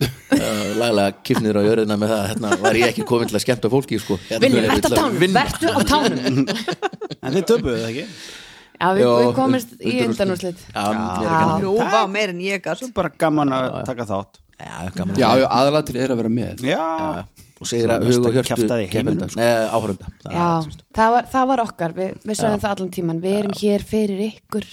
S1: uh, laglega kipnir á jörðina með það hérna var ég ekki komin til að skemmta fólki sko. hérna,
S2: Vinni,
S1: ég
S2: vertu á
S1: til að
S2: tánum,
S1: vinna.
S2: vertu á tánum
S5: En þið töpuðu það ekki?
S2: Já, við,
S1: Já,
S2: við komist í
S1: undanúrslit.
S2: undanúrslit
S1: Já, Ah, það er
S2: Já.
S1: gaman.
S4: Nú, vá, meir en ég galt
S5: Svo bara gaman að taka þátt
S1: Já, gaman
S6: Já, aðalatrið er að vera með
S5: Já,
S1: og segir að hug og hjörtu
S5: Kjaftaði í heiminum,
S1: kemenda, sko. Nei, áhörunda Það er
S2: Já,
S1: allt, sko.
S2: það var, það var okkar við, við sagðum það allan tíman, við erum hér fyrir ykkur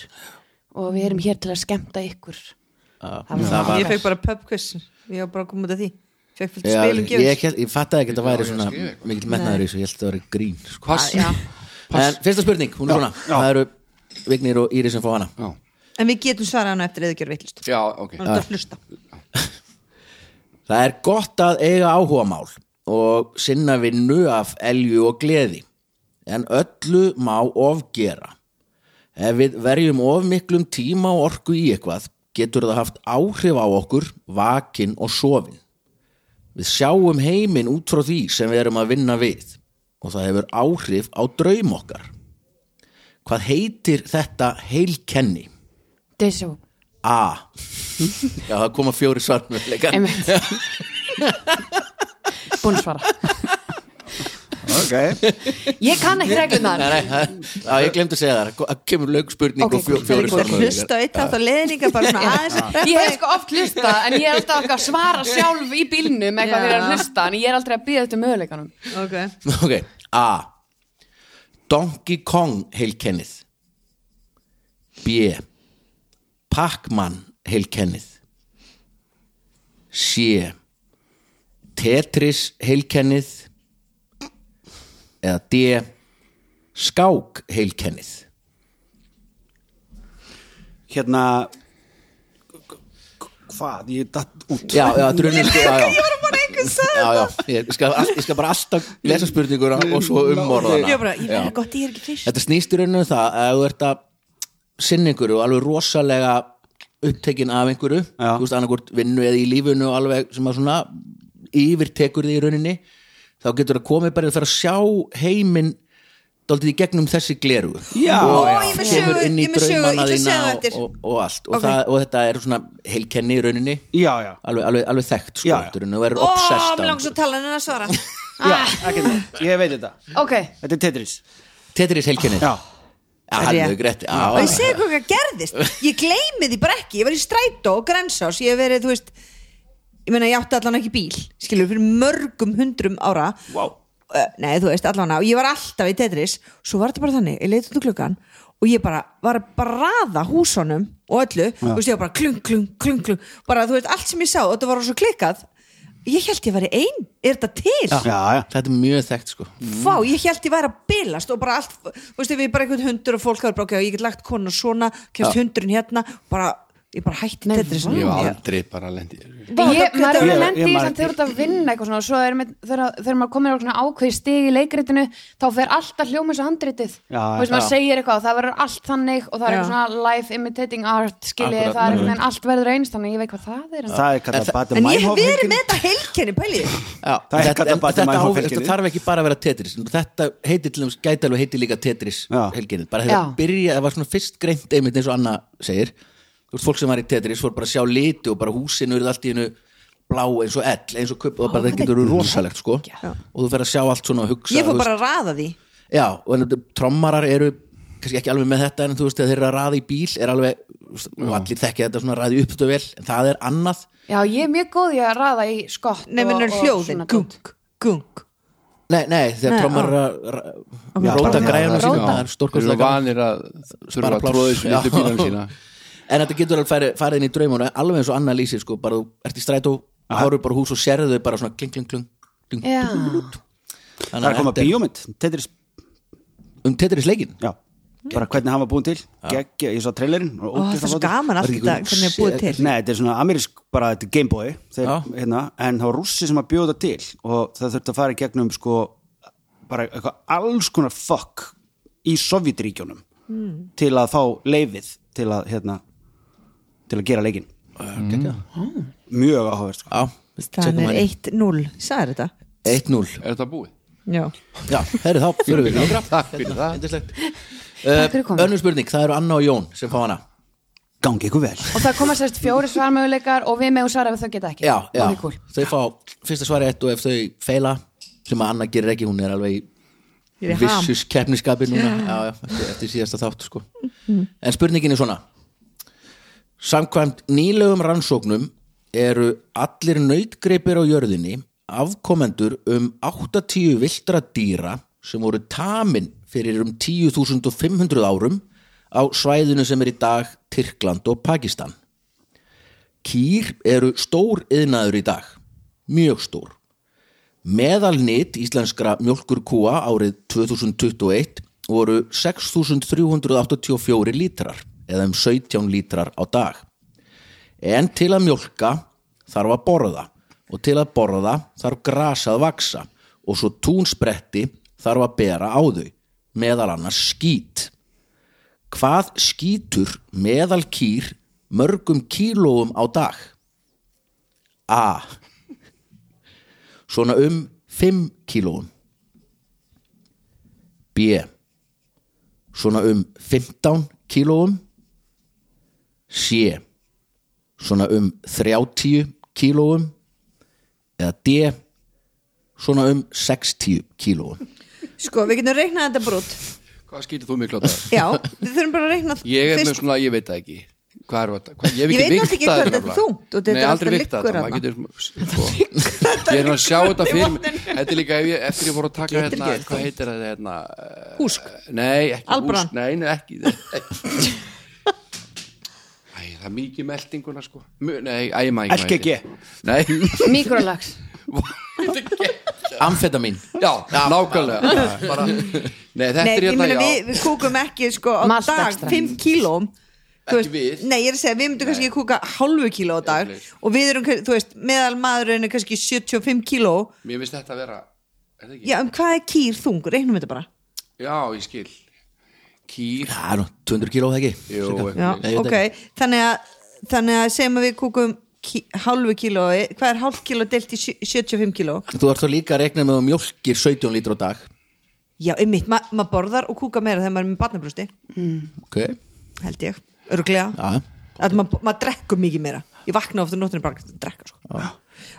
S2: og við erum hér til að skemmta ykkur
S1: Já.
S2: það var,
S1: Það var-
S4: Ég fekk bara pubquiz Ég var bara að koma út af því Fekk fullt
S1: Já,
S4: spil
S1: ég,
S4: um og gefis
S1: ég, hélt- ég fattaði ekki að það væri svona mikill metnaður í þessu, ég held að það væri grín sko.
S6: Pass
S4: Já.
S1: en fyrsta spurning, hún er svona það eru Vignir og Íris sem fá hana
S6: Já,
S4: En við getum svarað hana eftir eða gjör veitlust
S6: já ok
S1: Ah.
S4: Hann er að hlusta
S1: það er gott að eiga áhuga mál og sinna vinnu af elju og gleði en öllu má ofgera ef við verjum of miklum tíma og orku í eitthvað getur það haft áhrif á okkur vakin og sofin við sjáum heiminn út frá því sem við erum að vinna við og það hefur áhrif á draum okkar hvað heitir þetta heilkenni?
S2: Desu,
S1: A Já, það koma fjóri svarmöðleikar
S2: einmitt Búin að svara
S5: ok
S2: Ég kann ekki reglunar
S1: Nei, það, á, ég glemt að segja það Það kemur lög spurning
S2: Ok,
S1: og fjó,
S2: cool.
S1: fjóri
S4: Ég Hlusta á eitt þátt á leðninga bara svona aðeins að
S2: Ég
S4: preppa
S2: hef sko oft hlusta en ég er alltaf að svara sjálf í bílnum eitthvað
S4: Já.
S2: fyrir að hlusta en ég er aldrei að býða þetta möguleikanum
S4: Ok.
S1: Ok, A Donkey Kong heilkennið B Pac-Man heilkennið C Tetris heilkennið eða D Skák heilkennið
S5: Hérna Hvað, ég datt út
S1: Já, já, drunum Já, já
S4: Bara einhver sagði
S1: já, já, ég skal, all, ég skal bara alltaf lesa spurninguna og svo
S4: Ég var
S1: umorðana
S4: bara, ég verði gott, ég er ekki frisk
S1: þetta snýst í rauninu það að ef þú ert að sinna einhverju og alveg rosalega upptekin af einhverju
S5: Já.
S1: þú veist annarkvort vinnu eða í lífinu og alveg sem að svona yfirtekur þig í rauninni þá getur það komið bara þú fer að sjá heiminn daldið í gegnum þessi gleru
S5: Já,
S1: og
S4: já. Ó, ég er með sögu,
S1: kemur inn í
S4: ég er með sögu, ég ætla
S1: draumana
S4: að
S1: þína
S4: segja það
S1: og,
S4: eftir.
S1: og, og allt og,
S4: Ok.
S1: það, og þetta er svona heilkenni í rauninni
S5: Já, já,
S1: alveg, alveg, alveg þekkt sko,
S5: Já, já.
S1: þetta er rauninni, og verður
S4: Ó,
S1: obsessed af
S4: mér
S1: einhverju.
S4: langs að tala um en að svara
S5: já
S4: Ah.
S5: ekki, það. Ég veit þetta,
S2: Ok,
S5: þetta er Tetris
S1: Tetris heilkennið
S5: Já,
S1: Já, hann
S4: Rétt.
S1: hefur greitt já,
S4: Og ég
S1: já.
S4: segi hvað hvað gerðist Ég gleymi því bara ekki, ég var í strætó og grensás Ég hef verið, þú veist Ég meina, ég átti allan ekki bíl Skilur, fyrir mörgum hundrum ára
S5: wow
S4: Ö, Nei, þú veist, allan Og ég var alltaf í Tetris Svo var þetta bara þannig, ég leit út úr klukkan Og ég bara, var að bara raða húsunum Og öllu, þú veist, ég var bara klung, klung, klung, klung Bara, þú veist, allt sem ég sá og Þetta var svo klikkað Ég held ég væri ein, er þetta til?
S5: Já, já,
S1: Þetta er mjög þekkt sko
S4: Vá, ég held ég væri að bilast og bara allt, þú veist, ef ég bara einhvern hundur og fólk var bara, ok, ég get lagt konan svona kemst hundurinn hérna, bara ég bara hætti
S2: Nei,
S4: Tetris
S6: Ég hef
S4: Já.
S6: aldrei bara lendið í þessu.
S2: ég,
S4: þetta-
S2: maður er
S5: Ég-
S2: að
S5: ég
S2: lendi í
S5: man
S2: þess að
S5: ekki.
S2: þegar þú ert að vinna eitthvað svona og svo er með, þegar, þegar maður komir á svona ákveði stig í leikritinu þá fer alltaf hljóma eins og handritið
S5: Já,
S2: og þess að maður
S5: já.
S2: segir eitthvað og það verður allt þannig og það er
S4: Já.
S2: eitthvað svona life imitating art skiljið
S6: Akkurat,
S2: það er eitthvað en allt verður eins þannig að ég veit hvað það er en-
S5: það er kallað Bader
S4: en ég hef
S5: Meinhof
S4: verið með þetta heilkenni pæli
S1: Já,
S5: Það er
S1: þetta,
S5: kallað
S1: en
S5: Batman
S1: þetta, á,
S5: Meinhof-heilkennið.
S1: þetta þarf ekki bara að vera Tetris þetta heiti til þess gæti alveg heiti líka Tetris
S5: Já.
S1: helginnið, bara þegar
S2: Já.
S1: byrja það var svona fyrst greint einmitt eins og Anna segir þú veist fólk sem var í Tetris fór bara að sjá liti og bara húsinu eru allt í hennu blá eins og ell, eins og köp og bara það getur verið rosalegt sko
S4: Já.
S1: og þú fer að sjá allt svona og hugsa
S4: ég
S1: þú
S4: fór
S1: veist,
S4: bara að raða því
S1: Já, og en þetta- trommarar eru kannski ekki alveg með þetta en þú veist þegar þeir eru að ræða í bíl er alveg, þú veist, og allir þekkja þetta svona ræði upp þetta vel, en það er annað
S2: Já, ég er mjög góð í að raða í skott
S4: nefnir
S2: og- og
S4: hljóðin,
S2: svona dót.
S4: gung, gung
S1: Nei, nei, þegar
S4: Nei,
S1: trommarar
S4: á.
S1: að ra-
S5: Já,
S1: róta
S5: bara-
S1: græjuna
S2: Róta.
S1: sína það er
S6: Þeir eru
S1: stórkostlega gaman.
S6: vanir að þurfa
S1: Bara
S6: að
S1: pláss.
S6: tróða þessu litlu bílan sína
S1: En þetta getur alveg farið, farið inn í draumuna alveg eins og Anna lýsir sko, bara þú ert í strætó hárur bara á hús og sérðu þau bara svona kling, kling, kling, kling
S2: Já.
S1: Þannig
S5: Það er að koma
S1: þetta er-
S5: bíómynd, Tetris
S1: Um Tetris leikin
S5: Já, bara hvernig hann var búin til Gekkja, ég svo trailerinn og
S4: og
S5: ógeðslega
S4: það er svo
S5: flottur.
S4: gaman allt
S1: Var ekki
S4: þetta
S1: gung-
S4: hvernig er búið til
S5: Nei, þetta er svona amerísk, bara þetta er Gameboy þeir,
S1: Já.
S5: hérna, en það var rússi sem að bjóða til og það þurfti að fara í gegnum sko, bara eitthvað alls konar fuck í Sovjetríkjónum
S2: Hmm.
S5: til að fá leifið til að, hérna, til að gera leikin
S6: Mm.
S5: mjög áhverð sko.
S1: Já,
S4: það
S1: tjekkum
S4: er
S1: hann.
S4: 1-0, sagði þetta
S1: 1-0
S6: Er þetta búið?
S4: já,
S1: Já, herri þá, fyrir við lengra
S6: Takk fyrir það.
S1: Yndislegt. Eh,
S2: Takk fyrir komuna.
S1: Önnur spurning, það eru Anna og Jón sem fá hana
S5: gangi ykkur vel
S2: Og það koma sérst fjóri svarmöguleikar og við megum svara ef þau geta ekki
S1: já, já.
S2: Ok, cool.
S1: þau fá fyrsta svari ett og ef þau feila sem að Anna gerir ekki, hún er alveg í
S4: Ég er í ham.
S1: vissus keppniskapi núna já, já, eftir, eftir síðasta þátt sko. en spurningin er svona samkvæmt nýlegum rannsóknum eru allir nautgreipir á jörðinni afkomendur um 80 viltra dýra sem voru tamin fyrir um 10.500 árum á svæðinu sem er í dag Tyrkland og Pakistan Kýr eru stór yðnaður í dag mjög stór Meðalnit íslenskra mjólkurkúa árið 2021 voru 6.384 lítrar eða um 17 lítrar á dag. En til að mjólka þarf að borða og til að borða þarf grasa að vaksa og svo túnspretti þarf að bera á þau, meðal annars skít. Hvað skítur meðal kýr mörgum kílóum á dag? A. Svona um 5 kílóum. B. Svona um 15 kílóum. C. Svona um 30 kílóum. Eða D. Svona um 60 kílóum.
S4: Sko, við getum reiknað þetta brot
S6: Hvað skýtir þú miklu á það?
S4: Já, við þurfum bara að reikna
S6: Ég er með
S4: fyrst-
S6: svona, ég veit það ekki Hvað er þetta? Hvað, ég hef
S4: Ég
S6: ekki
S4: veit náttúrulega ekki hvað þetta er
S6: viktað þetta nefnilega.
S4: þungt og þetta
S6: Nei,
S4: er
S6: aldrei
S4: alltaf liggur
S6: viktað þetta
S4: þarna.
S6: maður getur, sko, Ég er að sjá þetta fyrir mér. Þetta er líka ef ég, eftir ég voru að taka
S4: Getur
S6: hérna
S4: ekki viktað.
S6: Hvað heitir þetta hérna? eh,
S4: Húsk.
S6: Nei, ekki
S4: Albran.
S6: húsk Nei, nei, ekki Æ, það er mikið meldinguna sko Mö- Nei, æ, maður ekki hvað
S5: LKG.
S6: heitir. Nei,
S2: Mikrolax
S1: Amfetamin.
S6: Já, nákvæmlega bara, Nei, þetta
S4: Nei,
S6: er
S4: ég
S6: hérna,
S4: meina
S6: já
S4: við, við kúkum ekki sko á
S2: Malt
S4: dag
S2: extra.
S4: 5 kílóm Þú
S6: Ekki við.
S4: Nei, ég er að segja, við myndum kannski kúka halvu kíló á dag
S6: Ég veit.
S4: og við erum, kann- þú veist, meðal maðurinn er kannski 75 kíló
S6: Mér finnst þetta að vera er það ekki?
S4: Já, um hvað er kýr þung? Reiknum þetta bara
S6: já, ég skil Kýr
S1: Það er nú 200 kíló það ekki. Cirka.
S6: Jú, eitthvað
S4: Já,
S1: Nei, ég veit
S4: ok, þannig að þannig að segjum að við kúkum kí, halvu kílói, hvað er halv kíló delt í sjö- 75 kíló?
S1: Þú ert þá líka að rekna með að þú mjólkir 17 lítur á dag.
S4: Já, einmitt, ma- maður borðar og kúka meira þegar maður er með barnabrústi
S1: Ok,
S4: held ég, örglega
S1: já.
S4: að maður ma drekkur mikið meira ég vakna ofta nóttinu bara að drekka sko.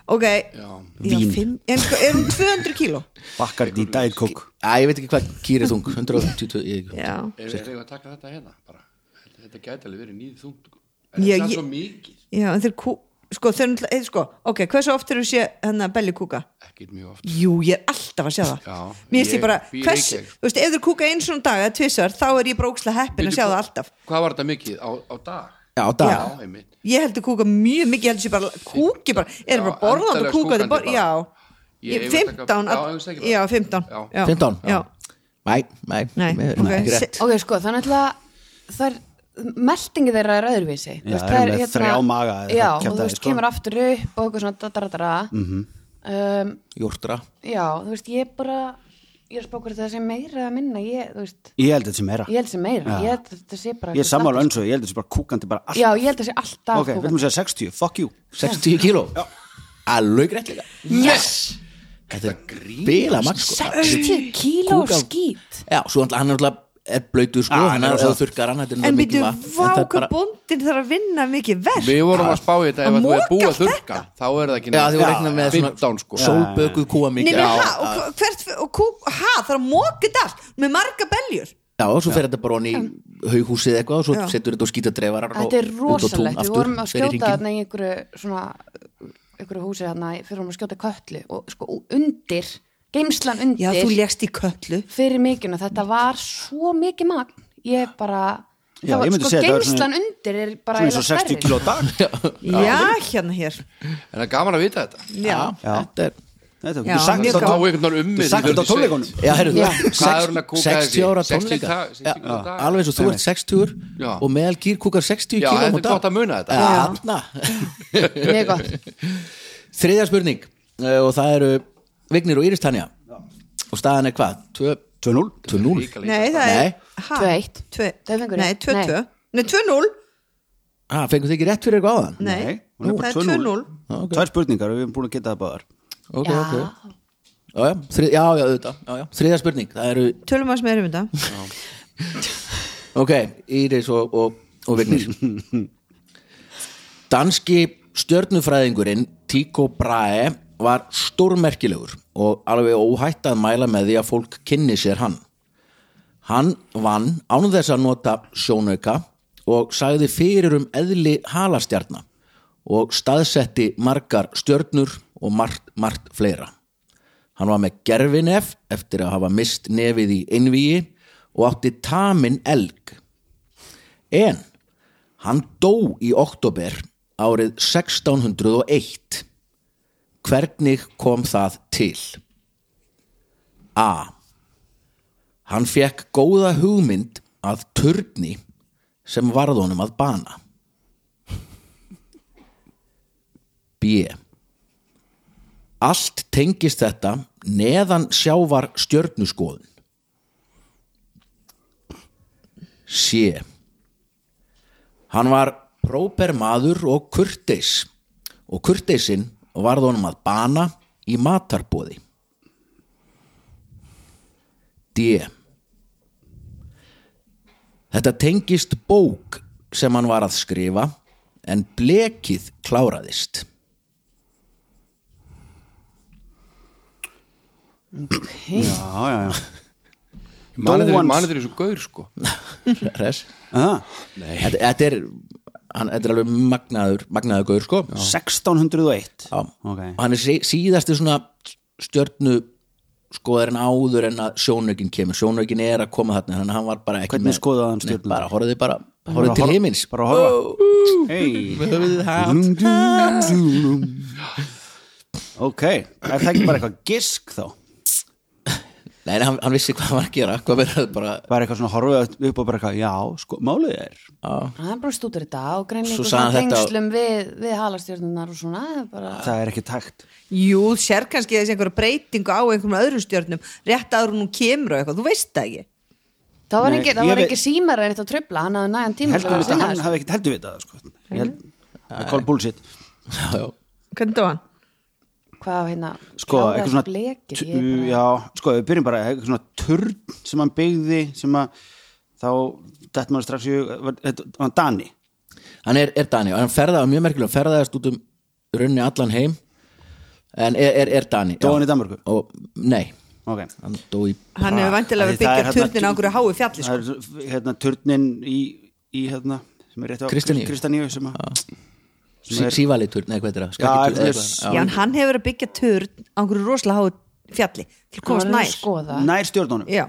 S4: ok, já,
S1: Vín.
S4: fimm, en hva- er hún 200 kíló?
S5: Bakkar í dæðkók
S1: Æ, ég veit ekki hvað kýr er þung. 120, ég,
S4: já,
S6: Er það eitthvað að taka þetta hérna? Bara, þetta, þetta gæti alveg verið nýð þungt sko. En
S4: Já,
S6: Það er
S4: ég-
S6: svo mikið,
S4: já en þeir kú sko, þeir, náttúrulega- eh, sko, ok, hversu oft eru sé hennar belli kúka?
S6: ekkert mjög oft
S4: Jú, ég er alltaf að sjá það
S6: Já,
S4: mér finnst ég
S6: ég
S4: bara,
S6: býr í
S4: hvers,
S6: Reykjavík.
S4: þú veist, ef þeir kúka eins og dag eða tvisar, þá er ég brókslega heppin að
S6: Bíddu,
S4: sjá það
S6: hvað-
S4: alltaf
S6: Hvað var þetta mikið á, á dag?
S1: já, á dag.
S4: Já.
S6: Já, einmitt
S4: ég heldur kúka mjög mikið, ég heldur sé bara kúki bara, er
S6: Já,
S4: bara borðandi og
S6: endalaust
S4: kúka
S6: kúkandi
S4: þeir bara,
S6: bara.
S4: já
S6: Ég-
S4: Ég-
S6: ég vil taka-
S4: 15
S6: já, ég vil
S4: all-
S6: segja það.
S4: já, 15
S6: Já.
S4: já.
S1: 15?
S4: já,
S1: Nei, nei,
S4: Nei,
S1: mér-
S4: ok.
S1: ekki rétt.
S4: Se-
S2: Ok, sko, þannig að það er meldingi þeirra er öðruvísi Þú veist, hérna-
S5: það eru með þrjá maga eða
S2: Já,
S5: eitthvað
S2: og þú
S5: kjaftaði,
S2: veist,
S5: sko. Mhm.
S2: kemur aftur upp og eitthvað svona dadaradara -hmm. um,
S1: Jórtra.
S2: Já, þú veist, ég bara ég er spókur það sem meira að minna ég, þú veist,
S5: Ég held þetta sem meira
S2: ég held sem meira
S5: Já.
S2: ég held að þetta sé bara
S5: Ég er
S2: eitthvað
S5: sammála
S2: status.
S5: önsu, ég held þetta sem bara kúkandi bara allt
S2: Já, ég held að sé alltaf
S5: Ok, við
S2: kúkandi.
S5: erum að segja 60, fuck you
S1: 60 kíló alveg greitt líka yes þetta er bila magn sko
S2: 60 kíló
S1: Kúka-
S2: skít
S1: já, svo hann, hann er alltaf er blöytu sko,
S5: Ah, hann
S1: hann er
S5: er
S1: alltaf
S5: rosa-
S1: þurrkar hann þetta er náttúrulega
S4: en býtu,
S1: mikið vatn,
S4: vá,
S1: þetta er
S4: hvað
S1: bara-
S4: bóndin þarf að vinna mikið verk
S6: Við vorum að spá í þetta
S4: Að
S6: ef að þú er
S4: moka
S6: búið að
S4: allt
S6: þurrka Þá er það ekki
S1: já,
S6: neitt.
S1: þú regnar með svona
S6: 15 sko
S1: sólbökuð kúa
S4: Nei,
S1: mikið
S4: nei,
S1: já,
S4: ha, og hva- hvert, og kúk, ha, það er að móka þetta allt með marga beljur
S1: já, og svo fer þetta bara hann í haughúsið eitthvað og svo
S4: Já.
S1: setur þetta og skýta drefarar og
S2: Þetta er
S1: út á tún
S2: rosalegt, við
S1: aftur,
S2: vorum að
S1: fer í
S2: skjóta
S1: hringinn.
S2: þarna í einhverju svona, einhverju húsi þarna í- fyrir vorum að skjóta köttlu og sko og undir, geimslan
S4: já, þú
S2: undir
S4: legst í köllu
S2: fyrir mikinu, þetta var svo mikið magn, ég bara
S5: Já,
S2: það
S5: ég
S2: var,
S5: myndi
S2: sko
S5: segja þetta var
S2: geimslan
S5: svona-
S2: undir er bara
S5: Svo eins og
S2: eiginlega
S5: 60
S2: stærri.
S5: kíló á dag
S4: já, hérna hér
S6: En það er gaman að vita þetta
S4: já,
S1: já, þetta er
S5: Þetta,
S4: Já,
S5: þú sagt
S4: mjög
S5: þetta
S4: gaman.
S6: Þá
S5: á-
S6: er einhvern veginn ummið
S5: þú sagt þetta á tónleikunum
S1: Já, heyrðu,
S2: Já.
S1: sex-
S6: Hvað er hún að kúka
S1: 60
S6: þessi?
S1: ára
S6: 60
S1: tónleika
S6: dag- 60 kíló á dag.
S1: alveg eins og þú ert 60
S6: Já.
S1: og meðal kýr kúkar 60
S6: Já,
S1: kíló
S6: þetta er gott að muna þetta
S1: þetta
S2: Mjög gott,
S1: Þriðja spurning eh, og það eru Vignir og Íris Tanja og staðan er hvað? 2-0 2-0
S6: Ríkalega.
S4: nei, það
S1: Nei.
S4: er ha,
S2: 2-1
S4: tvö-
S2: Þau fengu
S4: nei,
S2: rétt.
S4: 2-2 nei, 2-0
S1: ah, Fengur þið ekki rétt fyrir eitthvað áðan?
S4: nei,
S5: hún er
S4: það
S5: bara
S4: er
S5: 2-0
S4: 2-0
S1: ok.
S5: Tvær spurningar, við erum búin að geta það báðar
S1: Ok,
S2: Já,
S1: ok Já, já, þrið, já, já, auðvitað já, já. Þriðja spurning, það eru
S4: tölum að smerum þetta
S1: Ok, Íris og, og, og Vignir Danski stjörnufræðingurinn Tycho Brahe var stórmerkilegur og alveg óhætt að mæla með því að fólk kynni sér hann. Hann vann ánum þess að nota sjónauka og sagði fyrir um eðli halastjarna og staðsetti margar stjörnur og margt, margt fleira. Hann var með gerfinef eftir að hafa mist nefið í einvíi og átti tamin elg. En hann dó í oktober árið 1601. Hvernig kom það til? A. Hann fekk góða hugmynd að turni sem varð honum að bana. B. Allt tengist þetta neðan sjávar stjörnuskoðun. C. Hann var próper maður og kurteis og kurteisin varð honum að bana í matarbóði. D. Þetta tengist bók sem hann var að skrifa en blekið kláraðist.
S5: já, já, já.
S6: Manið
S5: Dóans-
S6: er eins og gaur sko
S1: Hress.
S5: Aha,
S1: Þetta, þetta er hann, þetta er alveg magnaður, magnaður gaur sko
S5: 1601
S1: Já.
S5: Ok.
S1: og hann er sí- síðasti svona stjörnu skoðarinn áður en að sjónaukin kemur sjónaukin er að koma þarna þannig að hann var bara ekki
S5: Hvernig
S1: með-
S5: skoðaði hann
S1: Nei,
S5: stjörnurnar?
S1: bara horfði bara, horfði til
S5: horf-
S1: heimins
S5: bara að horfa hey.
S1: Með höfuðið hátt.
S5: ok, er það ekki bara eitthvað gisk þá
S1: nei, nei, hann, hann vissi hvað hann var að gera hvað verður bara
S5: bara eitthvað svona horfið upp og bara eitthvað já, sko, málið er
S2: hann er bara stútur í dag og
S1: Svo
S2: greinlega
S1: sagði
S2: svona
S1: hann þetta á-
S2: tengslum við, við halastjörnunar og svona það er bara...
S5: það er ekki takt
S4: Jú, sér kannski þessi einhverja breytingu á einhverjum öðrum stjörnum rétt áður en hún kemur og eitthvað, þú veist það ekki
S2: það var
S5: Nei,
S2: ekki,
S5: ég
S2: það var
S5: veit-
S2: ekki símar eitt að tröfla, hann hafði nægan tíma til
S5: heldur við
S2: að
S5: þetta,
S2: sinna
S5: hann
S2: þessu.
S5: hafði ekkert heldur við þetta sko. Ég held- það er call bullshit
S4: Hvernig það var hann?
S2: hvað hérna,
S5: sko,
S2: kláraðist
S5: eitthvað svona
S2: blekið,
S5: tu-
S2: ég er bara-
S5: já, sko, við byrjum bara eitthvað svona turn sem hann byggði sem að þá, þetta maður strax í hug, var- þetta- var hann Dani
S1: hann er, er Dani og hann ferðaði mjög merkilega hann ferðaðist út um runni allan heim en er, er, er Dani já.
S5: Dó hann í Danmörku?
S1: og, nei,
S5: ok,
S1: hann dó í
S4: Hann hefur vantilega
S5: Af
S4: að
S5: því það er
S4: byggja
S5: hérna
S4: turnin á einhverju háu fjalli sko.
S5: það er hérna turnin í, í hérna, sem er rétt á
S1: Kristaníu.
S5: Kristaníu sem að sem
S1: sí,
S5: er-
S1: sívalitur, nei, hvað heitir það
S5: Já,
S1: Skakkitur- eða
S5: er-
S1: eitthvað.
S4: Já, en hann hefur að byggja turn á einhverju rosalega háu fjalli til að
S2: Hann
S4: komast
S2: var að
S4: nær
S2: skoða,
S5: nær stjórnunum
S4: Já.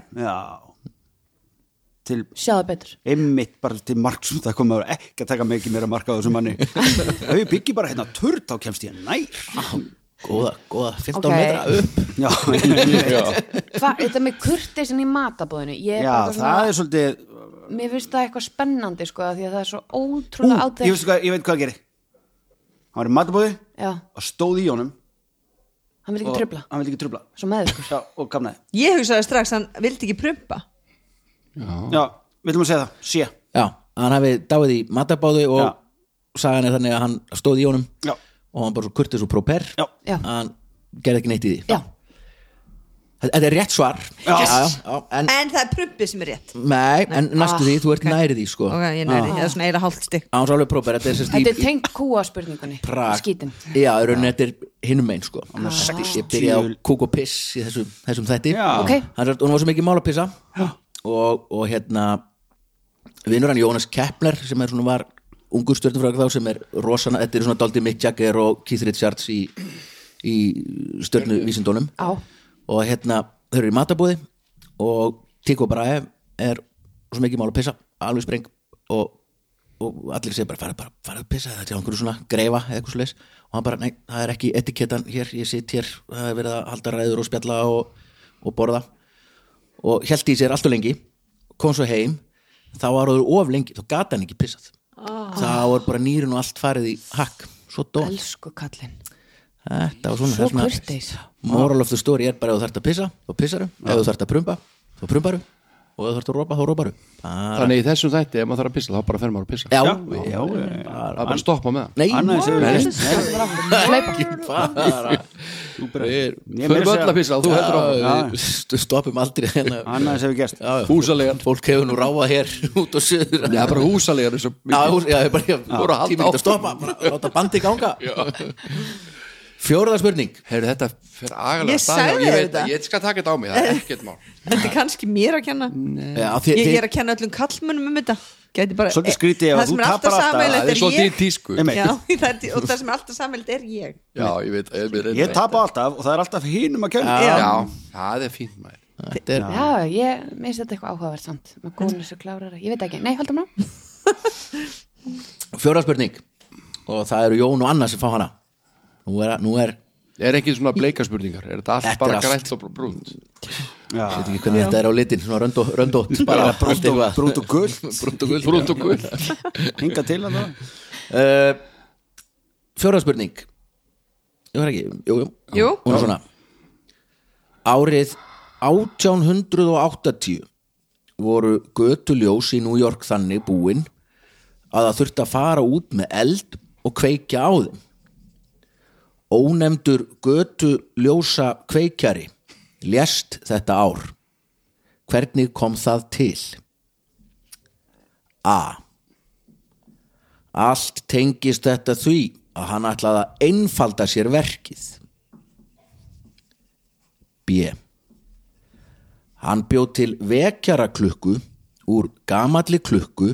S5: til
S2: sjáðu betur
S5: einmitt bara til mark sem það komið ekki að taka mikið meira mark á þessum manni ef ég byggi bara hérna turn þá kemst ég nær
S1: góða, góða, 15
S2: Ok.
S1: metra upp
S5: já, já,
S2: Hva, þetta með kurteisin í matabóðinu ég er bara
S5: það
S2: svona,
S5: er svolítið
S2: mér finnst það eitthvað spennandi sko, af því að það er svo
S5: ú,
S2: ótrúlega
S5: ég,
S2: áþekkt
S5: veistu hvað, ég veit hvað að gera hann var í matabóði
S2: já,
S5: og stóð í honum
S2: hann vil
S5: og
S2: ekki tröfla,
S5: hann vildi ekki trubla
S2: svo meður sko.
S5: já, og gamnaði
S4: Ég hugsaði strax að hann vildi ekki prumpa
S5: já, við viljum að segja það, sé
S1: Já, hann hafi dáið í matabáðu og
S5: Já.
S1: sagan er þannig að hann stóð í honum
S5: Já.
S1: og hann bara svo kurtis og próper
S5: Já.
S2: Já.
S1: hann gerði ekki neitt í því
S2: já,
S1: Þetta er rétt svar
S5: Já.
S1: Já, já, já, en,
S4: En það er prumpið sem er rétt
S1: nei, en næstu
S2: Ah,
S1: því, þú ert okay. nærið því sko
S4: Ok, ég næri, það er svona eiginlega hálft stykk
S1: Hann var alveg próper, þetta er sérst
S2: þetta er tengt kúa spurningunni
S1: Prag
S2: skítin
S1: Já, í rauninni þetta er hinum einn sko Ég byrja á kúk og piss í þessum, þessum þætti
S5: Já.
S2: Ok.
S1: Hann sagt, hún var svo mikið mál að pissa og, og hérna vinnur hann Jónas Kepler sem er svona var ungur stjörnufræk þá sem er rosana, þetta er svona Daldi Mick Jagger og Keith Richards í, í stjörnuvísindunum
S2: Á.
S1: og hérna þau eru í matabúði og Tico Brahe er svo mikið mál að pissa, alveg spreng og, og allir segir bara farið bara, farið að pissa, þetta er einhverju svona greifa eða eitthvað svo og hann bara, nei, það er ekki etikettan hér, ég sitt hér, það er verið að halda ræður og spjalla og, og borða og held í sér allt og lengi kom svo heim, þá var það of lengi þá gata hann ekki pissað þá var bara nýrin og allt farið í hakk svo dó hann.
S2: elsku kallinn
S1: þetta var svona,
S2: Svo
S1: það er
S2: kurteis.
S1: moral of the story er bara ef þú þarft að pissa, þá pissaru ef þú þarft að prumpa, þá prumparu og ef þú þarft að rópa, þá róparu bara,
S6: Þannig í þessum þætti, ef maður þarf að pissa, þá bara fer maður að pissa
S1: Ah. já,
S5: já, já,
S6: Það er bara að stoppa með það
S1: nei,
S5: annars hefur
S1: nei,
S5: við
S1: ekki bara við
S5: Ég meira að
S6: Förum öll að
S5: segja-
S6: pissa, þú heldur á
S1: Já, við st- stoppum aldrei hérna.
S5: annars hefur gerst
S1: Já, já.
S6: Húsalegan
S1: fólk hefur nú ráfað hér út og söður
S6: Já, bara húsalegan eins og
S1: Já,
S6: mikið
S1: hús- já, ég bara, ég,
S6: Voru að halda
S1: tími ekki
S6: áfram.
S1: að stoppa, bara láta bandi ganga Fjórða spurning
S6: Heyrðu, þetta fer agalega
S4: Ég
S6: af stað hjá-
S4: sagði
S6: ég
S4: þér
S6: veit,
S4: þetta.
S6: að Ég skal taka þetta á mig, það er ekkert mál
S4: Þetta er kannski mér að kenna
S1: Já, þið,
S4: Mm. Ég, ég
S1: þið,
S4: er að kenna öllum kallmönnum um þetta Gæti bara,
S5: Svolítið skrítið ef
S4: það
S5: að
S4: sem
S5: þú
S4: er alltaf
S5: tapar alltaf,
S4: sameiginlegt
S6: Það er
S4: er
S6: svolítið í
S4: ég
S6: tísku
S5: Nei,
S4: Já, það er, og það sem er alltaf sammeilegt er ég
S6: Já, ég veit Ég, veit-
S5: Ég tapa alltaf og það er alltaf hinum að kjöna
S4: Já.
S6: Já, það er fínt maður
S1: þetta er,
S2: Já, ég minnst þetta eitthvað áhugavert samt maður
S4: Mm.
S2: góðnir svo klárar, ég veit ekki, nei, haldum ná
S1: Fjórða spurning Og það eru Jón og Anna sem fá hana Nú er, nú er
S6: Er ekki svona bleika spurningar, er þetta allt
S1: Þetta er
S6: bara
S1: allt.
S6: grænt og brúnt
S1: Ég veit ekki hvernig þetta er á litin Svona röndó, röndótt bara allt
S5: Brúnt og,
S1: eitthvað.
S5: brúnt og gull
S1: Brúnt og guld
S6: Brúnt og gull
S5: Hinga til að það
S1: uh, Fjóra spurning Jú, er ekki, jú, jú,
S4: Jú.
S1: Hún er svona Árið 1880 voru götuljós í New York þannig búin að það þurfti að fara út með eld og kveikja á þeim Ónefndur götuljósa kveikjari lést þetta ár Hvernig kom það til? A. Allt tengist þetta því að hann ætlaði að einfalda sér verkið. B. Hann bjó til vekjara klukku úr gamalli klukku,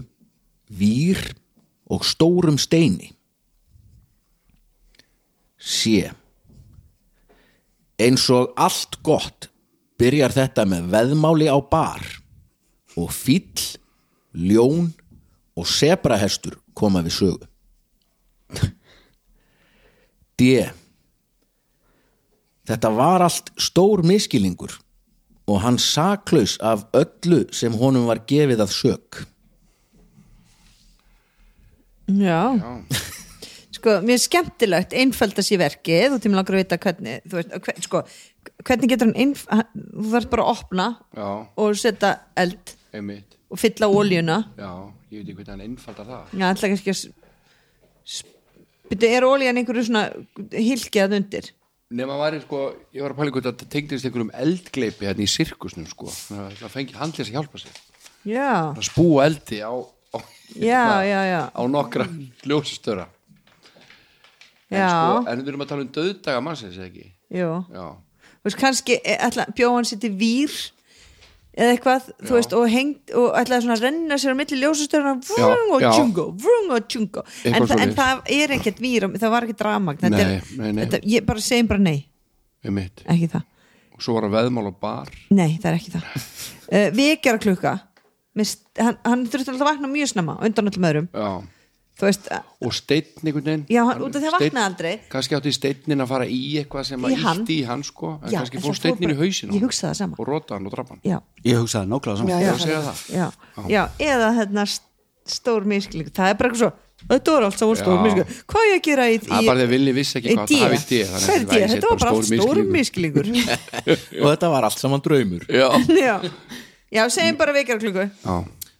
S1: vír og stórum steini. C. Eins og allt gott byrjar þetta með veðmáli á bar og fýll, ljón og sebrahestur koma við sögu. D. Þetta var allt stór miskilingur og hann saklaus af öllu sem honum var gefið að sög.
S4: Já. Sko, mér er skemmtilegt einfældast í verkið og til mig langar að vita hvernig þú veist, hver, sko, hvernig getur hann einf, hann- þú þarf bara að opna
S6: Já,
S4: og setja eld
S6: einmitt
S4: og fylla oljuna
S6: Já, ég veit ekki hvernig hann einfaldar það
S4: Já, alltaf kannski að Byrju, er oljan einhverju svona hilkið að undir?
S6: Nefn að væri sko, ég var að pæla í hvort að þetta tengdist einhverjum eldgleipi hérna í sirkusnum sko Þannig að Það fengi handlis að hjálpa sér
S4: Já,
S6: Að spúa eldi á, á, hérna,
S4: já, já, já,
S6: á nokkra ljósastöra En, sko,
S4: já,
S6: en við erum að tala um döðdaga mannsins, eða ekki?
S4: já.
S6: Já,
S4: Þú veist, kannski e, ætla, bjóð hann sér til vír eða eitthvað, þú veist, og hengt og ætlaði svona að renna sér á milli ljósustörna vrung og
S6: já.
S4: tjungo, vrung og tjungo en,
S6: Eitthvað
S4: þa en
S6: svoleiðis.
S4: það er ekkert vír, það var ekkert ramagn þetta er-
S6: Nei, nei, nei.
S4: Þetta, ég bara segjum bara nei,
S6: einmitt
S4: ekki það
S6: Og svo var að veðmál á bar
S4: nei, það er ekki það uh, vekjara klukka hann, hann þurfti alltaf að vakna mjög snemma á undan öllum öðrum,
S6: Já,
S4: þú veist eh, að-
S6: og steinn einhvern veginn
S4: Já, hann- út af því að
S6: Steinn-
S4: vaknaði aldrei.
S6: kannski átti steinin að fara í eitthvað sem
S4: Í
S6: að
S4: hann.
S6: ítti í hann sko en
S4: Já,
S6: kannski
S4: en
S6: fór
S4: það fór
S6: steinin í
S4: bara-
S6: hausin á
S4: Ég
S6: honum
S4: hugsaði það sama.
S6: og róta hann og drapa hann
S4: já,
S5: Ég hugsaði nákvæmlega saman
S6: Ég segja það.
S4: já, já, eða hérna st- stór miskling, það er bara eitthvað svo þetta var allt saman stór
S6: Já.
S4: miskling hvað á ég að gera í,
S6: Það er
S4: í
S6: bara því að Villi vissi ekki hvað
S4: D.
S6: það vissi ég,
S4: Hvað er D? þetta var bara allt stór misklingur
S1: Og þetta var allt saman draumur.
S6: Já,
S4: já, já, segjum bara vekjara klukku
S6: já,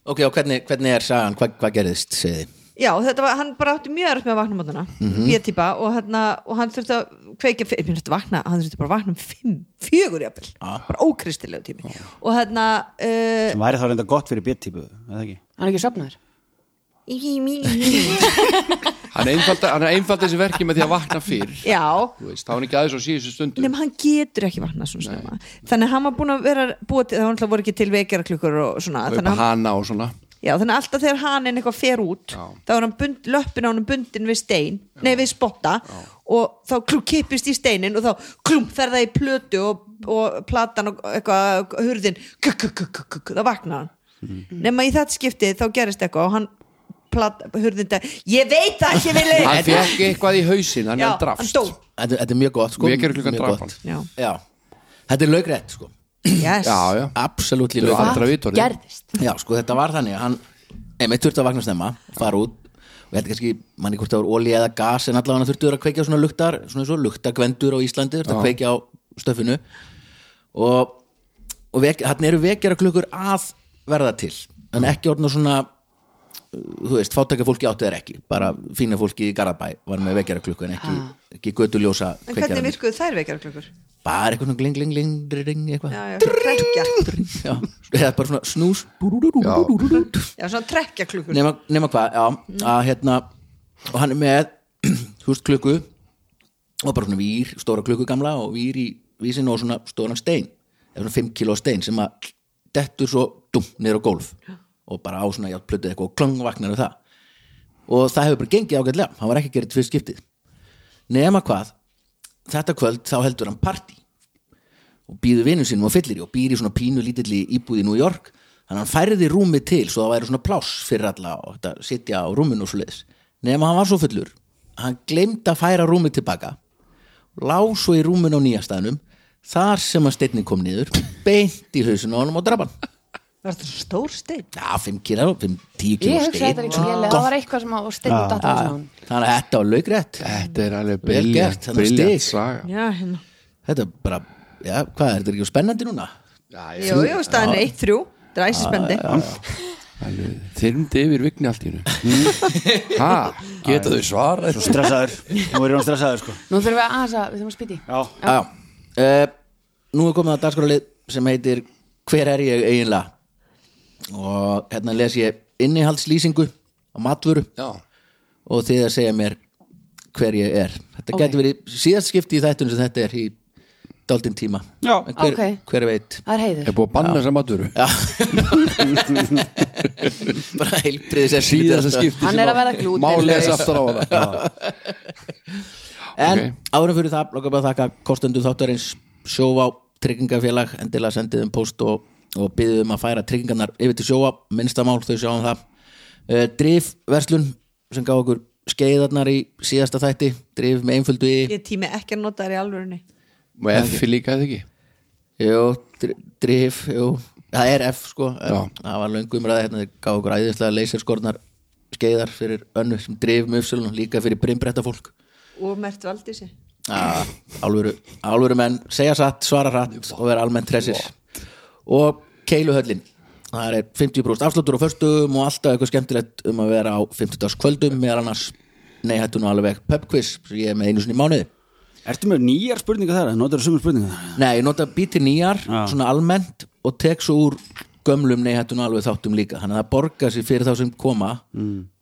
S1: Ok, og hvernig, hvernig er sagan? Hva, hvað gerðist, segði?
S4: já, þetta var, hann bara átti mjög erfitt með að vakna mótana mm
S6: Mhm.
S4: B-típa og, hérna, og hann þurfti að kveikja, ég myndi að vakna hann þurfti bara að vakna um fimm, fjögur jafnvel
S6: Ah.
S4: bara ókristilegu tími og hérna uh,
S5: Það væri þá reynda gott fyrir B-típu eða ekki?
S2: Hann er ekki sopnaður
S6: hann einfalda, hann einfalda þessi verki með því að vakna fyrr
S4: já,
S6: Þú veist, þá er hann ekki aðeins á síðustu stundu
S4: nema hann getur ekki vaknað svona snemma þannig að hann var búin að vera búið til það var náttúrulega voru ekki til vekjara klukkur og svona
S6: upp
S4: þannig
S6: að
S4: að, hann,
S6: hana og svona
S4: já, þannig að alltaf þegar hann en eitthvað fer út
S6: Já.
S4: þá er hann bund, löppin á hann bundin við stein nei við spotta og þá klú kippist í steinin og þá klúm fer það í plötu og, og platan og eitthvað hurðin kuk, kuk, kuk, kuk, kuk, þá vaknar hann
S6: Mhm.
S4: nema í þetta skiptið þá gerist eitthvað og hann plat, hurðin þetta ég veit það ekki villi
S6: Hann fekk eitthvað í hausin, hann
S4: já,
S6: er
S4: hann
S6: drafst
S4: dó
S1: Þetta, þetta er mjög gott, sko.
S6: Mér gerir klukkan drap
S1: gott.
S4: já,
S1: Já, þetta er laugrætt, sko.
S4: yes.
S6: Já, já,
S1: Absolutt
S6: Þetta var
S1: laugrætt.
S6: aldrei vitorðið.
S2: gerðist?
S1: Já, sko, þetta var þannig að hann einmitt þurfti að vakna snemma, fara út og þetta er kannski, manni hvort það voru olí eða gas en allavega hann þurfti að kveikja á svona luktar svona eins og luktagvendur á Íslandi, þurfti að kveikja á stöfinu og, og vek, hann eru vekjara klukkur að verða til en ekki orðna svona uh, þú veist, fátækja fólki átti þær ekki bara fína fólki í Garðabæ var með vekjara klukku en ekki, ekki götuljósa
S4: en hvernig
S1: kveikjaranir.
S4: virkuðu þær vekjara klukkur?
S1: bara eitthvað svona gling, gling, gling, ring, eitthvað
S4: já, já, svona trekkja
S1: já, eða bara svona snús
S4: Já, svona trekkja klukkur
S1: nema, nema hvað, já að hérna, og hann er með þú veist klukku og bara svona vír, stóra klukku gamla og vír í vísinu og svona stóran stein eða svona 5 kilo stein sem að dettur svo dum niður á gólf og bara á svona játplötu eitthvað og klangvagnar við það og það hefur bara gengið ágætlega hann var ekki að gera þetta fyrst skiptið nema hvað, þetta kvöld þá heldur hann partí og býður vinum sínum og fyllir í og býr í svona pínu lítilli íbúð í New York þannig að hann færði rúmið til svo það væri svona pláss fyrir alla og þetta sitja á rúminu og svo leiðis nema hann var svo fullur hann glemd að færa rúmið tilbaka lá svo í rúminu á nýjastæðnum þar sem að steinni kom niður beint í hausinu á honum og drapan
S4: Var þetta svo stór stein?
S1: já, 5 kílar, 5, 10
S2: Ég
S1: kílar
S2: hugsaði þetta
S1: stein
S2: líka lélega, það var eitthvað sem að steinu
S5: Ah.
S2: datt á þessu á hann.
S1: þannig að þetta var laugrætt
S6: Þetta er alveg
S1: Vel gert,
S6: briljant
S1: þennan
S6: briljant
S1: stig.
S6: saga
S4: Já, hérna
S1: þetta er bara, já, hvað er þetta ekki spennandi núna?
S4: Jú, jú, staðan er 1-3 Þetta er æsispendi
S6: Þyrmdi yfir vigni allt í hennu Ha, geta þau svarað
S5: stressaður, nú er hann stressaður sko.
S2: Nú þurfum við aðeins að, við þurfum að spýti
S5: já,
S1: Já, uh, nú er komið að dagskrálið sem heitir Hver er ég eiginlega? Og hérna les ég innihaldslýsingu á matvöru
S6: Já,
S1: og þið að segja mér hver ég er. Þetta okay. getur verið síðast skipti í þættunum sem þetta er í daldinn tíma.
S5: Já.
S1: En hver,
S2: Ok.
S1: hver veit?
S2: Það er
S6: er
S2: heiður
S6: búið að banna þessa matvöru
S1: Bara heilbriðis er
S6: Síðasta skipti
S2: Hann
S6: sem
S2: er að
S6: að
S2: verða glútenlaus.
S6: Má lesa aftur á það
S1: En
S6: Ok.
S1: árum fyrir það, loka bara að þakka kostendu þáttarins sjóvá tryggingafélag endilega sendið um post og, og byggðum um að færa tryggingarnar yfir til sjóvá minnstamál þau sjáum það uh, Drif verslun sem gaf okkur skeiðarnar í síðasta þætti Drif með einföldu í
S4: Ég tími ekki að nota þær í alvörunni
S6: Og F líka eða ekki
S1: jú, dri- Drif, jú það er F sko,
S6: Já.
S1: en það var löngum ræði hérna, þau gaf okkur æðislega leyserskornar skeiðar fyrir önnu sem drif með uppsölun líka fyrir brimbrætta fólk
S4: Og mert valdi sér
S1: Ah, alvöru, alvöru menn segja satt, svara hratt og vera almennt tressir og keiluhöllin það er 50% afsláttur á förstum og alltaf eitthvað skemmtilegt um að vera á 50 kvöldum meðan annars nei, hættu nú alveg pubquiz sem ég er með einu sinni í mánuði
S5: ertu með nýjar spurningar þar notar þú sömur spurningar þar
S1: nei, ég nota býti nýjar,
S5: Já.
S1: svona almennt og tek svo úr gömlum nei, hættu nú alveg þáttum líka þannig að það borgar sér fyrir þá sem koma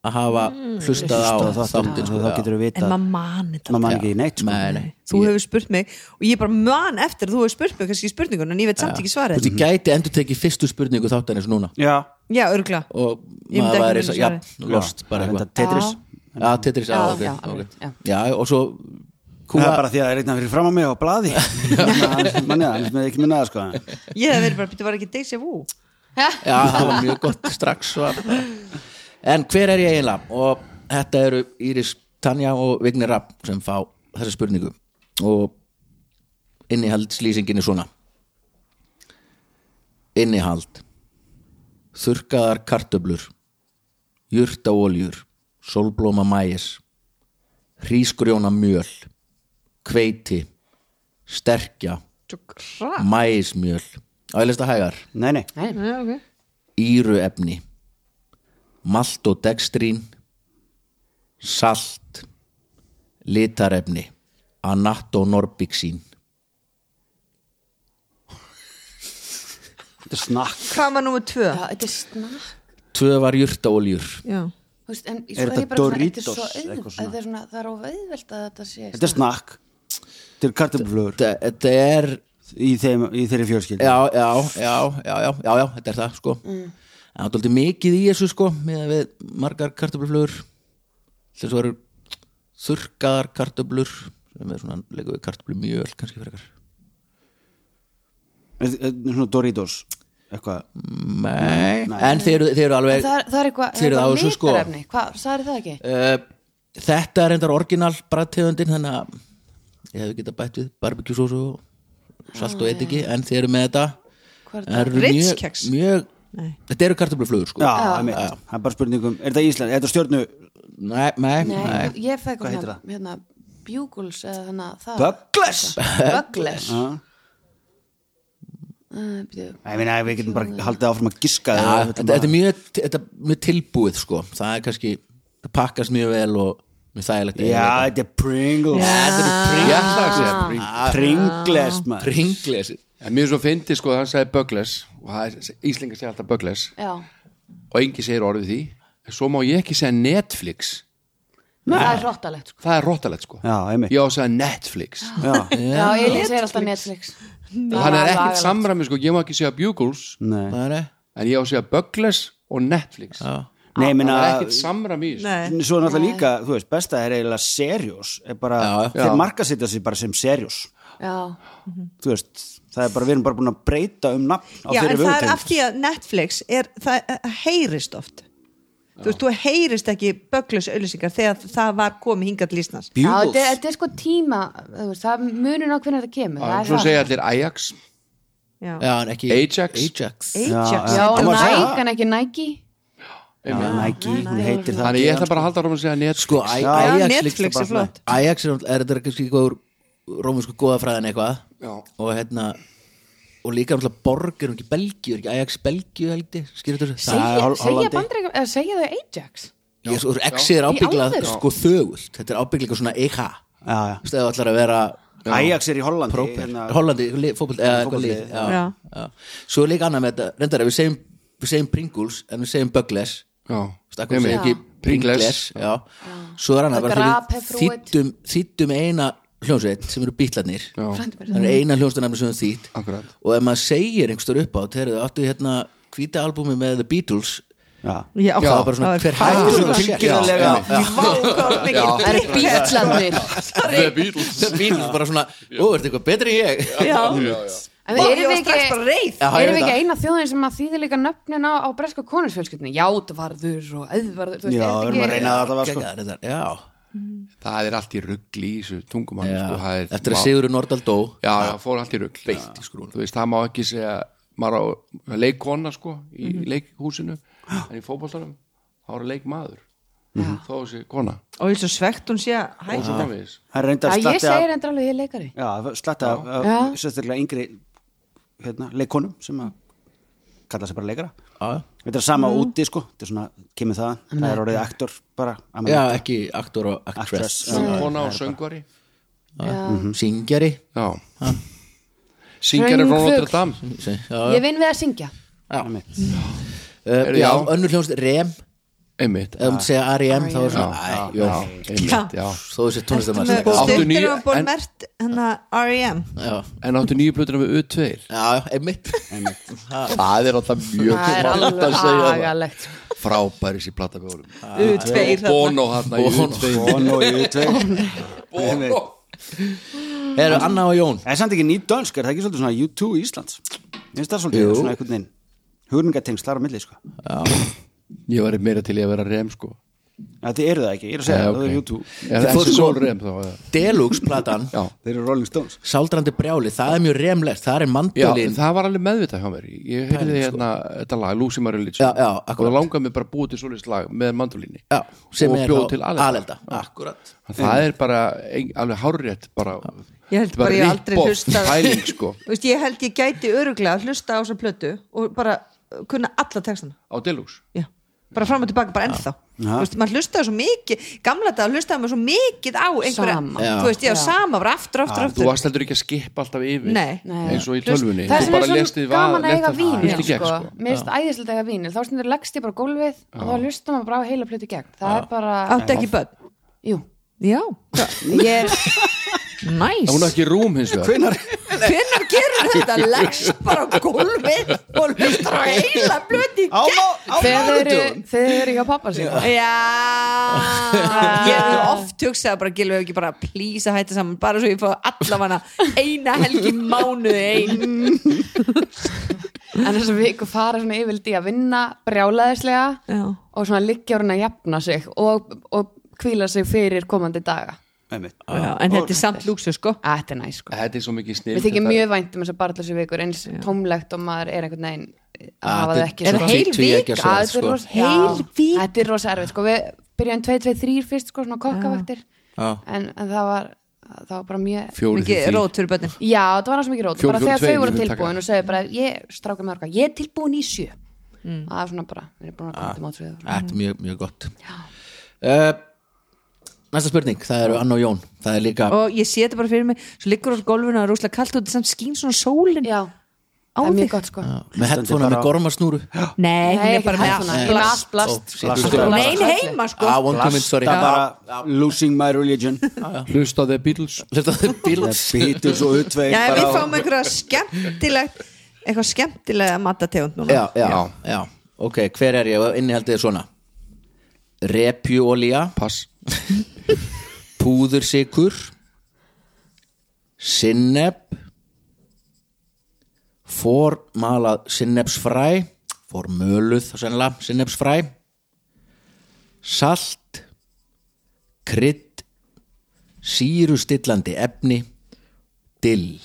S1: að hafa hlustað á þáttin sko,
S5: þá
S1: já.
S5: getur þú
S4: En
S5: vita
S4: maður mani þetta
S5: maður man ekki neitt sko.
S1: Nei, nei.
S4: Þú hefur spurt mig og ég bara man eftir að þú hefur spurt mig kannski spurningun en ég veit samt ekki
S1: Þú veist,
S4: svarið
S1: ég gæti endur tekið fyrstu spurningu þáttan eins og núna
S5: já,
S4: Já, örgla
S1: og
S4: Ég myndi
S1: maður væri
S4: ekki muna
S1: svo, já,
S4: svarið.
S1: lost bara
S5: Þetta
S1: eitthvað
S5: Tetris
S1: já, Tetris, já,
S2: Já,
S1: ok,
S2: já,
S1: ok.
S2: alveg, já.
S1: já, og svo
S5: það
S1: kúga,
S5: er bara því að það er eitthvað fyrir fram að mig á blaði manni það, annars með ekki minna það sko
S4: Ég hef verið bara, býttu var ekki deja vu
S1: já, það var mjög gott strax svar. en hver er ég eiginlega og þetta eru Íris Tanja og Vignir Rapp sem fá þessa spurningu og innihald slýsingin er svona innihald þurrkaðar kartöblur jurtaóljur sólblóma mæis hrísgrjóna mjöl hveiti sterkja
S4: Svo krá
S1: mæismjöl á ég lista hægar
S5: nei, nei,
S2: Nei,
S4: Já, ok
S1: íruefni maltodextrín salt litarefni anatonorbixín
S5: þetta er snakk
S4: Hvað var númer tvö?
S2: Já, þetta er snakk
S1: tvö var jurtaóljur
S4: Já
S2: þú veist, en svo
S5: Er þetta
S2: ég bara svona-
S5: Doritos,
S2: Þetta er svo
S5: eitthvað
S2: auðvelt
S5: svona?
S2: Þetta er svona, það er óauðvelt að þetta sé
S5: þetta er snakk til kartöflur
S1: þetta þetta er
S5: í, þeim, í þeirri fjölskyld
S1: já, já, já, já, já, já, já þetta er það sko mm. það er aldrei mikið í þessu sko með við margar kartöfluflugur þess að eru þurrkaðar kartöflur sem er svona leikum við kartöflu mjöl kannski frekar
S5: svona Doritos eitthvað
S1: Nei. en þeir eru, þeir eru alveg
S2: Það er, það er eitthvað,
S1: Fyrir
S2: eitthvað
S1: á þessu, sko.
S2: litarefni Hvað, sagði það ekki?
S1: Eh, þetta er reyndar orginal brættegundin þannig að ég hefði getað bætt við barbekjúsósu og salt og ediki en þið eru með þetta
S2: Hvað er
S1: En þær eru
S4: Ritz
S1: mjög-
S4: kex?
S1: mjög- þetta eru kartöfluflugur sko
S5: já, einmitt. það er bara spurningum, er þetta Ísland, er þetta stjörnu
S1: nei, nei,
S2: Nei,
S1: nei.
S2: ég fæði
S5: Hvað
S2: eitthvað
S5: heitir
S2: hérna, hérna Bugles eða þannig að það
S5: Böggles
S2: Bugles
S5: ég
S2: uh,
S5: meina, við getum bara haldið áfram að giska
S1: Ja,
S5: þegar við
S1: þetta,
S5: ætlum
S1: þetta er
S5: að-
S1: mjög, þetta er mjög tilbúið sko það er kannski, það pakkast mjög vel og mjög þægilegt að
S5: já,
S1: eiga þetta.
S5: þetta er Pringles
S1: þetta
S2: Ah.
S1: eru
S6: Ég
S1: Pringles-
S6: ætla að segja Pringles.
S5: Pringles, maður
S1: Pringles
S6: En mér er svo fyndi sko að hann sagði Böggles og það er- Íslingar segja alltaf Böggles
S2: Já,
S6: og engi segir orðið því en svo má ég ekki segja Netflix
S2: það er hróttalegt sko.
S6: það er rottalegt sko
S5: Já, einmitt
S6: ég á að segja Netflix
S2: Ah,
S5: Já,
S2: já, ég segir alltaf Netflix
S6: hann er
S2: lagalegt.
S6: ekkert samræmi sko, ég má ekki segja Bugles
S5: nei
S1: Það er það
S6: en ég á að segja Bugles og Netflix
S5: Nei, ég
S6: það
S5: meina
S6: er ekkert samræmi í þessu.
S4: Nei.
S5: Svo er náttúrulega líka, þú veist, besta er eiginlega seriós er bara,
S1: Já,
S5: Þeir
S6: Já.
S5: markasitja sig bara sem seriós
S2: já,
S5: Þú veist, það er bara, við erum bara búin að breyta um nafn á þeirri
S4: Já, en það er
S5: vörutegund.
S4: af því að Netflix er, það eh, heyrist oft þú veist, þú heyrist ekki böglus auðlýsingar þegar það var komið hingað til Íslands
S2: já þetta er- þetta er sko tíma þú veist, það munur á hvernig þetta kemur það er
S6: svo
S2: það.
S6: segja allir Ajax
S4: Já,
S1: Já, en ekki
S6: Ajax.
S1: Ajax
S4: Ajax
S2: já,
S5: Á maður að segja
S2: Nike
S5: það?
S2: en ekki Nike
S5: Já, Nike, hún heitir það
S6: þannig ég ætla bara að halda áfram að segja Netflix
S1: Sko, Aj- Ajax
S4: Netflix
S1: líkst
S4: er
S1: það bara
S4: flott.
S1: Ajax er, er þetta kannski eitthvað úr rómusku góðafræðin eitthvað
S6: Já.
S1: og hérna og líka náttúrulega borg er hún ekki Belgíu er ekki Ajax Belgíu held ég skilur þetta þessu?
S5: er
S2: segja,
S5: Hol-
S2: segja
S5: Hollandi.
S2: bandrækjum, eða segja þau Ajax
S1: Ég- sko, Exi er
S2: Í
S1: ábyggilega
S2: alvöru?
S1: sko þögult þetta er ábyggilega svona EH
S5: Já, já.
S1: Þú veist, ef þú ætlar að vera
S5: Ajax er í Hollandi
S1: Proper,
S5: hérna-
S1: Hollandi, lið- fótboll eða eitthvað
S5: Fótboltalið,
S1: lið, já,
S4: já.
S1: já. Svo er líka annað með þetta, reyndar ef við segjum, við segjum Pringles en við segjum Bugles
S6: Já.
S1: Stakkum við ekki Pringles
S6: Pringles.
S1: já. Svo er hann
S2: Og
S1: að bara
S2: Grape
S1: fyrir
S2: Fruit.
S1: þýttum, þýttum eina hljónsveit sem eru bítlarnir
S6: Já.
S1: það eru eina hljónsveitarnafni sem er þýtt
S6: Akkurat.
S1: og ef maður segir einhverstur upp á þegar þau áttu hérna hvíta albúmi með The Beatles
S5: Já.
S1: það
S4: Já,
S1: var bara svona
S4: það
S1: hver
S4: var-
S1: hættur
S4: það var
S5: tilgerðarlega.
S2: það eru bítslandir
S6: The Beatles
S1: The Beatles bara svona, ó, ertu eitthvað betri en ég
S4: Já,
S2: en
S4: og ég
S2: erum
S4: var
S2: við
S4: strax bara
S2: ekki
S4: reið
S1: Já, ég
S2: erum við
S1: veit
S2: ekki
S1: það.
S2: eina þjóðin sem að þýðir líka nöfnin á, á breska konusfjölskyldinu játvarður og eðvarður þú veist,
S5: Já,
S2: er
S5: við erum að
S2: þetta
S5: reyna
S2: ekki-
S5: það allavega sko
S1: Gekkað, þetta, já,
S6: það er allt í ruggli í þessu tungumann
S1: já.
S6: sko, það er,
S1: eftir að
S6: má-
S1: Sigurður Nordal dó
S6: já, já, fór allt í ruggli beitt í skrún þú veist, það má ekki segja maður á leikkona sko í leikhúsinu en í fótboltanum þá er leikmaður þó þessi kona
S4: Og ég er svo svegt hún sé að
S6: og svo
S4: hætta
S6: framvegis
S5: Það er reyndar
S2: Já, ég
S5: slatti
S2: segir
S5: að
S2: endur alveg ég er leikari
S5: Já, slatti að
S2: Já.
S5: að- sérstaklega yngri hérna, leikonum sem að kalla sig bara leikara
S1: já,
S5: Þetta er
S4: Mhm.
S5: sama úti sko, þetta er svona kemur það, það er orðið aktor bara að
S1: já,
S5: maður-
S1: ekki aktor og actress
S5: Actress.
S6: söngkona og söngvari
S1: Mhm. syngjari
S6: já syngjari frá
S2: Hraunfugl.
S6: Notre Dame
S1: já,
S2: ég vinn við að syngja
S1: uh,
S6: Er-
S1: já,
S6: já.
S1: önnur hljónst REM
S6: einmitt
S1: ef þú myndi segja R.E.M. þá er
S6: Ah. já,
S1: svona æ,
S6: já,
S1: jó,
S6: einmitt, já
S1: þó þessi tónlistamæð
S4: Ah,
S1: já,
S4: Með
S6: Áttu níu-
S4: Stuttir og búin
S6: en-
S4: mert hérna, E hennar R.E.M.
S1: já,
S6: en áttu nýju blötuna með U2
S1: já, einmitt
S6: það er alltaf mjög
S2: það er
S6: gott að
S2: alveg
S6: segja það.
S2: agalegt sko.
S6: frábæri sér platta með honum
S4: U2
S6: og Bono hann að
S5: og nú í U2
S6: Bono
S1: eru Anna og Jón
S5: Það er samt ekki nýtt dönsk, er það ekki svolítið svona U2 í Íslands? Ég finnst það svolítið
S1: Jú.
S5: svona einhvern veginn hugningatengsl þar á milli sko
S6: ég var meira til í að vera rem sko
S5: Já, Þið eru það ekki, ég er að segja,
S6: Já,
S5: það er
S6: ok.
S5: U2
S6: Er
S1: Þið
S6: það
S1: fóruð
S6: ekki
S1: sko-
S6: svo rem þá? eða?
S1: Deluxe platan,
S6: Já.
S5: Þeir eru Rolling Stones
S1: Sáldrandi brjáli það er mjög remlegt, það er
S6: Já,
S1: mandolin
S6: það var alveg meðvitað hjá mér Ég heyrði hérna þetta lag, Lucy Marilyn
S1: sko. Já, já,
S6: og
S1: akkurat.
S6: það langaði mig bara að búa til svoleiðis lag með mandolíni
S1: já, sem
S6: og
S1: er
S6: bjóð
S1: þá
S6: til Alelda.
S1: Alelda, akkurat
S6: Það er bara ein, alveg hárrétt bara,
S4: Ég held bara ég aldrei
S6: rip-off
S4: hlustað-
S6: pæling, sko,
S4: Þú veist, ég held ég gæti öruglega að hlusta á þessa plötu og bara uh, kunna alla textana
S6: á Deluxe
S4: já. bara fram og tilbaka, bara ennþá þú veist, maður hlustaði svo mikið, gamla dag hlustaði maður svo mikið á einhverja
S2: Sama.
S1: Já.
S4: þú veist, já, sama, bara aftur, aftur,
S6: Þú
S4: aftur
S6: varst heldur ekki að skipa alltaf yfir
S4: Nei.
S2: Nei.
S6: eins og í
S4: Hlust-
S6: tölvunni
S2: það
S6: Þú
S2: sem
S6: bara
S2: er
S6: lest þið
S2: svo
S6: var-
S2: gaman að
S6: lest
S2: eiga
S6: það-
S2: vínil
S6: Hlust í gegn,
S2: sko.
S6: sko.
S2: mér finnst æðislega að eiga vínil þá stundur leggst ég bara á gólfið og þá hlusta maður bara á heila plötu í gegn það er bara,
S4: átti ekki börn
S2: jú
S4: já,
S2: ég er,
S4: næs
S6: Hún er ekki í rúm hins vegar
S4: hvenær gerur þetta, leggst bara á gólfið og hlustar á heila blöti
S5: Á má- á
S2: þegar þau eru
S5: mánudögum?
S2: þegar þau eru hjá pappa sín
S4: já ég hef oft hugsað bara gilvið ekki bara please að hætta saman bara svo ég fá allavega eina helgi í mánuði ein
S2: en þessar viku fara svona yfirlt í að vinna brjálæðislega
S4: Já.
S2: og svona liggja orðin að jafna sig og, og kvíla sig fyrir komandi daga
S5: Einmitt.
S4: já, en þetta er samt lúksu sko
S2: Æ, þetta er næ sko
S6: Þetta er svo mikið snill
S2: Mér þykir mjög vænt um þessar barðlösu vikur eins tómlegt og maður er einhvern veginn að
S1: Ah,
S2: hafa það
S1: þetta
S2: ekki
S1: er
S2: svona-
S4: heil
S1: tví ég ekki að
S2: Já,
S1: segja það,
S2: þetta er
S1: sko.
S2: rosa-
S4: Heil
S2: já,
S4: vika.
S2: Þetta er rosa erfið, sko Við byrjum 2, 2, 3 fyrst, sko, svona kokkavaktir
S1: Já.
S2: en, en það var það var bara mjög
S6: Fjóri
S4: mikið
S6: því
S4: rót fyrir börnin
S2: Já, það var náttúrulega mikið rót
S6: Fjórir,
S2: bara
S6: fjórir,
S2: þegar
S6: tveir,
S2: þau voru
S6: við taka.
S2: tilbúin og segðu bara ég stráka með orka, ég er tilbúin í sjö
S4: Mm.
S2: það er svona bara, við erum búin að koma
S1: Ah.
S2: til mátsvið
S1: Þetta er mjög, mjög gott uh, Næsta spurning, það eru Anna og Jón það er líka
S4: og ég sé þetta bara fyrir mig svo liggur á gólfinu og það er rúslega kallt og þetta samt skín svona sólin
S2: Já,
S4: á
S2: það er
S4: þig
S2: mjög gott sko
S1: með headphone með gormasnúru Eh, oh,
S4: nei, hún
S2: Nei,
S4: er
S2: ekki
S4: bara með
S2: hægt
S4: allt
S2: svona, ég er með allt blast
S5: Blast.
S4: hún er ein heima sko
S1: ah, one comment, sorry
S5: Það bara losing my religion
S6: hlusta á The Beatles
S1: Þetta er bíl
S5: Bítur svo utveg
S4: já, við fáum einhverja skemmtilegt eitthvað skemmtilega matategund núna
S1: já, já, já, ok, hver er ég innihaldið er svona repjúolía
S6: pass,
S1: púðursykur sinneb formalað sinnebsfræ formöluð sennilega sinnebsfræ salt krydd sírustillandi efni dill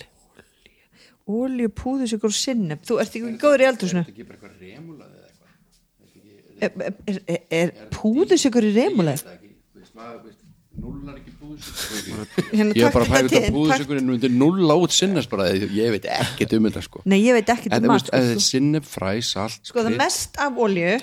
S4: olju, púðusykur og sinneb þú ert ekki góður í eldursnu er, er, er, er púðusykur í remulað? Hérna,
S6: ég er
S4: takk
S6: bara
S4: þetta
S6: að pæla þetta
S4: til, takk-
S6: búðsökurinn myndi null át sinnast bara, ég ég veit ekkert um þetta sko
S4: nei, ég veit ekki
S6: en
S4: þetta
S6: þú
S4: mat
S6: veist, ef þetta
S4: sko,
S6: er sinneb, fræ, salt
S4: sko það
S6: krydd-
S4: mest af olju
S6: já,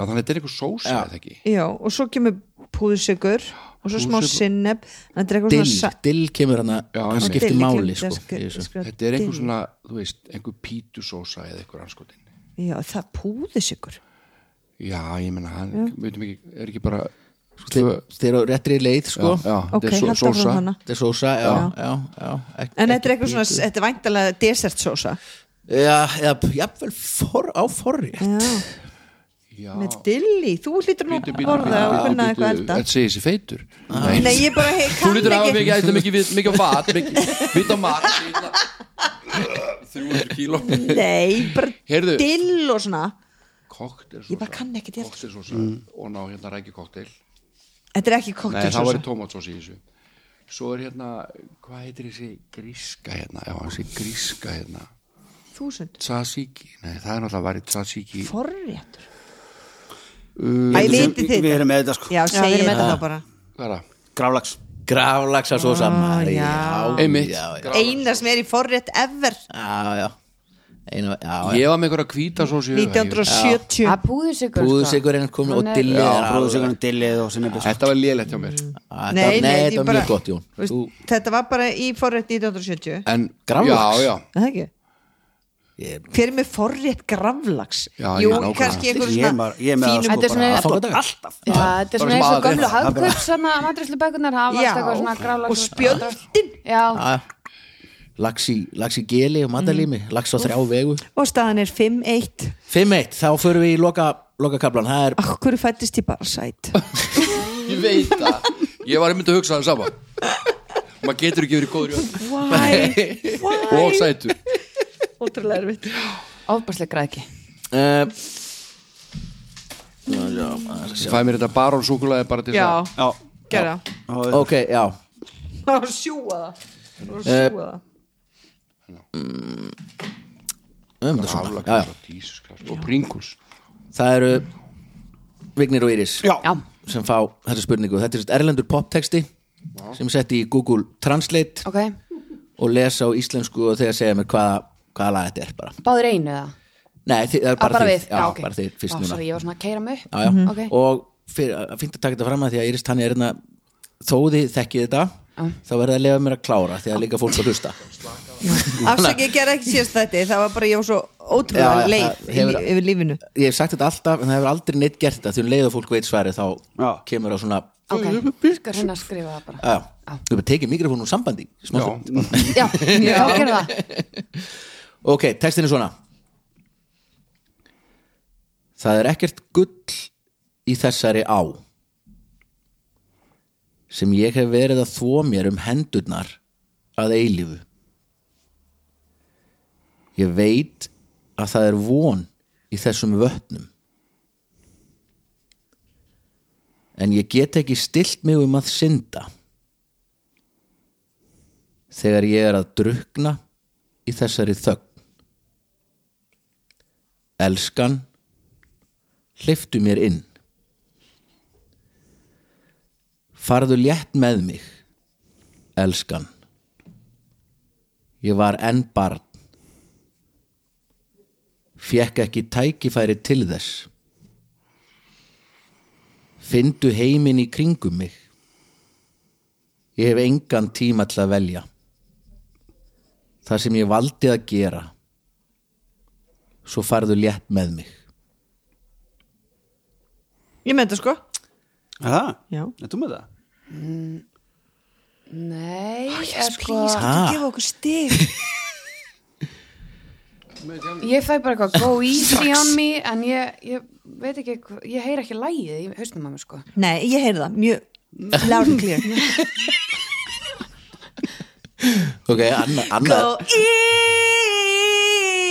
S6: þannig að þetta er eitthvað sósa eða ekki
S4: já, og svo kemur púðusykur og svo smá sinneb en þetta er eitthvað
S1: dill,
S4: svona sa-
S1: dill kemur hann að
S6: Já,
S1: hann
S6: einmitt.
S1: skiptir
S4: Dill, ég
S1: máli
S4: gleymdi
S1: sko,
S4: að sk-
S1: í þessu.
S4: skrifa
S6: þetta er
S4: dill.
S6: einhver svona, þú veist, einhver pítusósa eða einhver anskotin
S4: já, það er púðusykur
S6: já, ég menna, hann, veitum ekki, er ekki bara
S1: Þe- þeir eru á réttri leið sko.
S6: já, já,
S4: Sko, ok,
S6: þetta er
S4: halda
S6: sósa
S4: frá hana
S1: þetta er sósa já, já. Já, ek,
S4: en þetta er eitthvað svona, þetta er væntalega desertsósa
S1: já, já, jafnvel for, á forrétt
S6: já,
S4: með dilli, þú hlýtur nú
S6: bítu,
S4: að
S6: bítu,
S4: borða og kunna eitthvað elda Ah.
S6: þetta segir sér feitur
S4: nei, ég bara hey,
S6: Þú
S4: kann
S6: lítur að hafa
S4: ekki
S6: mikið, þetta er mikið, við- mikið á mat, mikið, vitt á mat, mikið- 300 kíló.
S4: nei, bara
S6: Heyrðu.
S4: dill og svona
S6: Koktel
S4: Ég bara kann ekkert í allt.
S6: Koktel sósa og ná hérna rækju koktel.
S4: þetta er ekki
S6: Nei, það var
S4: koktelsósa
S6: í tómatsósa í þessu. Svo er hérna, hvað heitir þessi gríska hérna? Já, þessi gríska hérna.
S4: þúsund,
S6: Tzatziki, nei, það er náttúrulega varðið tzatziki.
S4: forréttur
S6: Uh,
S4: æ, vitið þið
S5: Við erum með þetta sko
S4: já,
S2: við
S4: segir
S2: erum með
S4: þetta
S2: þetta.
S4: þá bara
S6: hvað er það?
S5: Grálags
S1: grálaxa
S4: Ah,
S1: sósa já, já,
S6: Einmitt.
S1: já, já,
S4: eina sem er í forrétt ever
S1: já, já. Einu, já, já.
S6: Ég var með einhverja kvítasósi.
S4: 1970
S2: að sko. púðusykur
S1: Púðusykurinn kom og
S2: Hann er-
S1: dillið er alveg-
S5: Bróðsökunum dillið og sinnebis
S6: Þetta var lélegt hjá mér.
S1: Þetta-
S4: Nei, nei,
S1: nei,
S4: ég
S1: þetta var
S4: bara-
S1: mjög gott Jón
S4: Veist,
S1: Þú,
S4: þetta var bara í forrétt 1970 er
S6: En,
S1: Graflax?
S6: já, já.
S4: það ekki?
S1: ég,
S4: hver er með forrétt gravlags
S6: Já,
S4: jú,
S6: já, nákvæmlega.
S4: kannski einhver
S5: Ég er
S4: svona
S5: bara- ég er með það,
S4: fínum
S5: sko,
S2: þetta er svona
S1: Aðfangadag?
S2: Já, þetta er
S6: Bara
S2: svona
S6: sem
S2: eins og
S6: aðrir.
S2: gömlu hafðkaup sem að matrislu bækunar hafa
S4: Já.
S2: alltaf eitthvað svona grála
S4: og spjöldin
S1: Ah.
S2: Já,
S1: lax í, lax í geli og matalími
S4: Mm.
S1: lax á þrjá vegu
S4: og staðan er 5-1
S1: 5-1, þá förum við í loka, loka kaplan það er
S4: okkur fættist ég bara sæt
S6: Ég veit það. Ég var einmitt að hugsa það sama. Maður getur ekki verið góður í öll.
S4: why,
S6: og
S4: why
S6: sætur
S4: ótrúlega erfitt
S2: ofbærslega græðki
S1: uh,
S4: Ah.
S6: fæ mér þetta barón súkulaði bara til
S4: já,
S6: það
S5: Já
S4: gera
S5: Og-
S1: ok, já Eh,
S4: það var sjúa það var sjúa það
S1: um, það, Mm. svona, já, já.
S6: Jesus Christ, og pringus
S1: það eru Vignir og Íris
S5: Já.
S2: Já,
S1: sem fá þessa spurningu þetta er sem sagt erlendur poptexti sem er sett í Google Translate
S2: ok
S1: og lesa á íslensku og þegar segja mér hvaða, hvaða lag þetta er bara
S2: Báðir einu eða?
S1: Nei, þið, það er
S2: Á,
S1: bara,
S2: Ah, bara
S1: þið,
S2: við,
S1: já,
S2: ok.
S1: bara þið fyrst
S2: Ó,
S1: núna
S2: Sorry, ég var svona að keira mig upp
S1: já, já.
S2: Ok,
S1: og fyrir, fínt að taka þetta fram að því að Íris Tannja er hérna þó þið þekkið þetta þá verður það að lefa mér að klára því að líka fólk að hlusta
S4: afsakið ég gera ekki síðast þetta það var bara ég var svo
S1: Já,
S4: ótrúlega
S1: það
S4: leið í
S1: hefur-
S4: lí- yfir lífinu
S1: ég hef sagt þetta alltaf en það hefur aldrei neitt gert þetta því um leið og fólk veit sværi þá
S5: Já.
S1: kemur á svona
S2: ok, skal hérna að skrifa það bara
S1: Já, við bara tekið mikrofónu úr sambandi í smá stund.
S2: Já, já, gerðu það
S1: Ok, textin er svona Það er ekkert gull í þessari á sem ég hef verið að þvo mér um hendurnar að eilífu Ég veit að það er von í þessum vötnum En ég get ekki stilt mig um að synda þegar ég er að drukna í þessari þögn Elskan hleyftu mér inn Farðu létt með mig Elskan Ég var enn barn Fjekk ekki tækifæri til þess Fyndu heiminn í kringum mig Ég hef engan tíma til að velja Það sem ég valdi að gera svo farðu létt með mig
S4: Ég með þetta sko
S5: Er það?
S4: Já.
S5: Er þú með það?
S2: Nei, er sko
S4: Please, hættu að gefa okkur stig
S2: Ég fæ bara eitthvað go easy on me En ég, ég veit ekki hva- Ég heyr ekki lægið í hausnum að mér sko
S4: Nei, ég heyrði það, mjög loud and clear
S1: ok, anna, anna,
S4: Go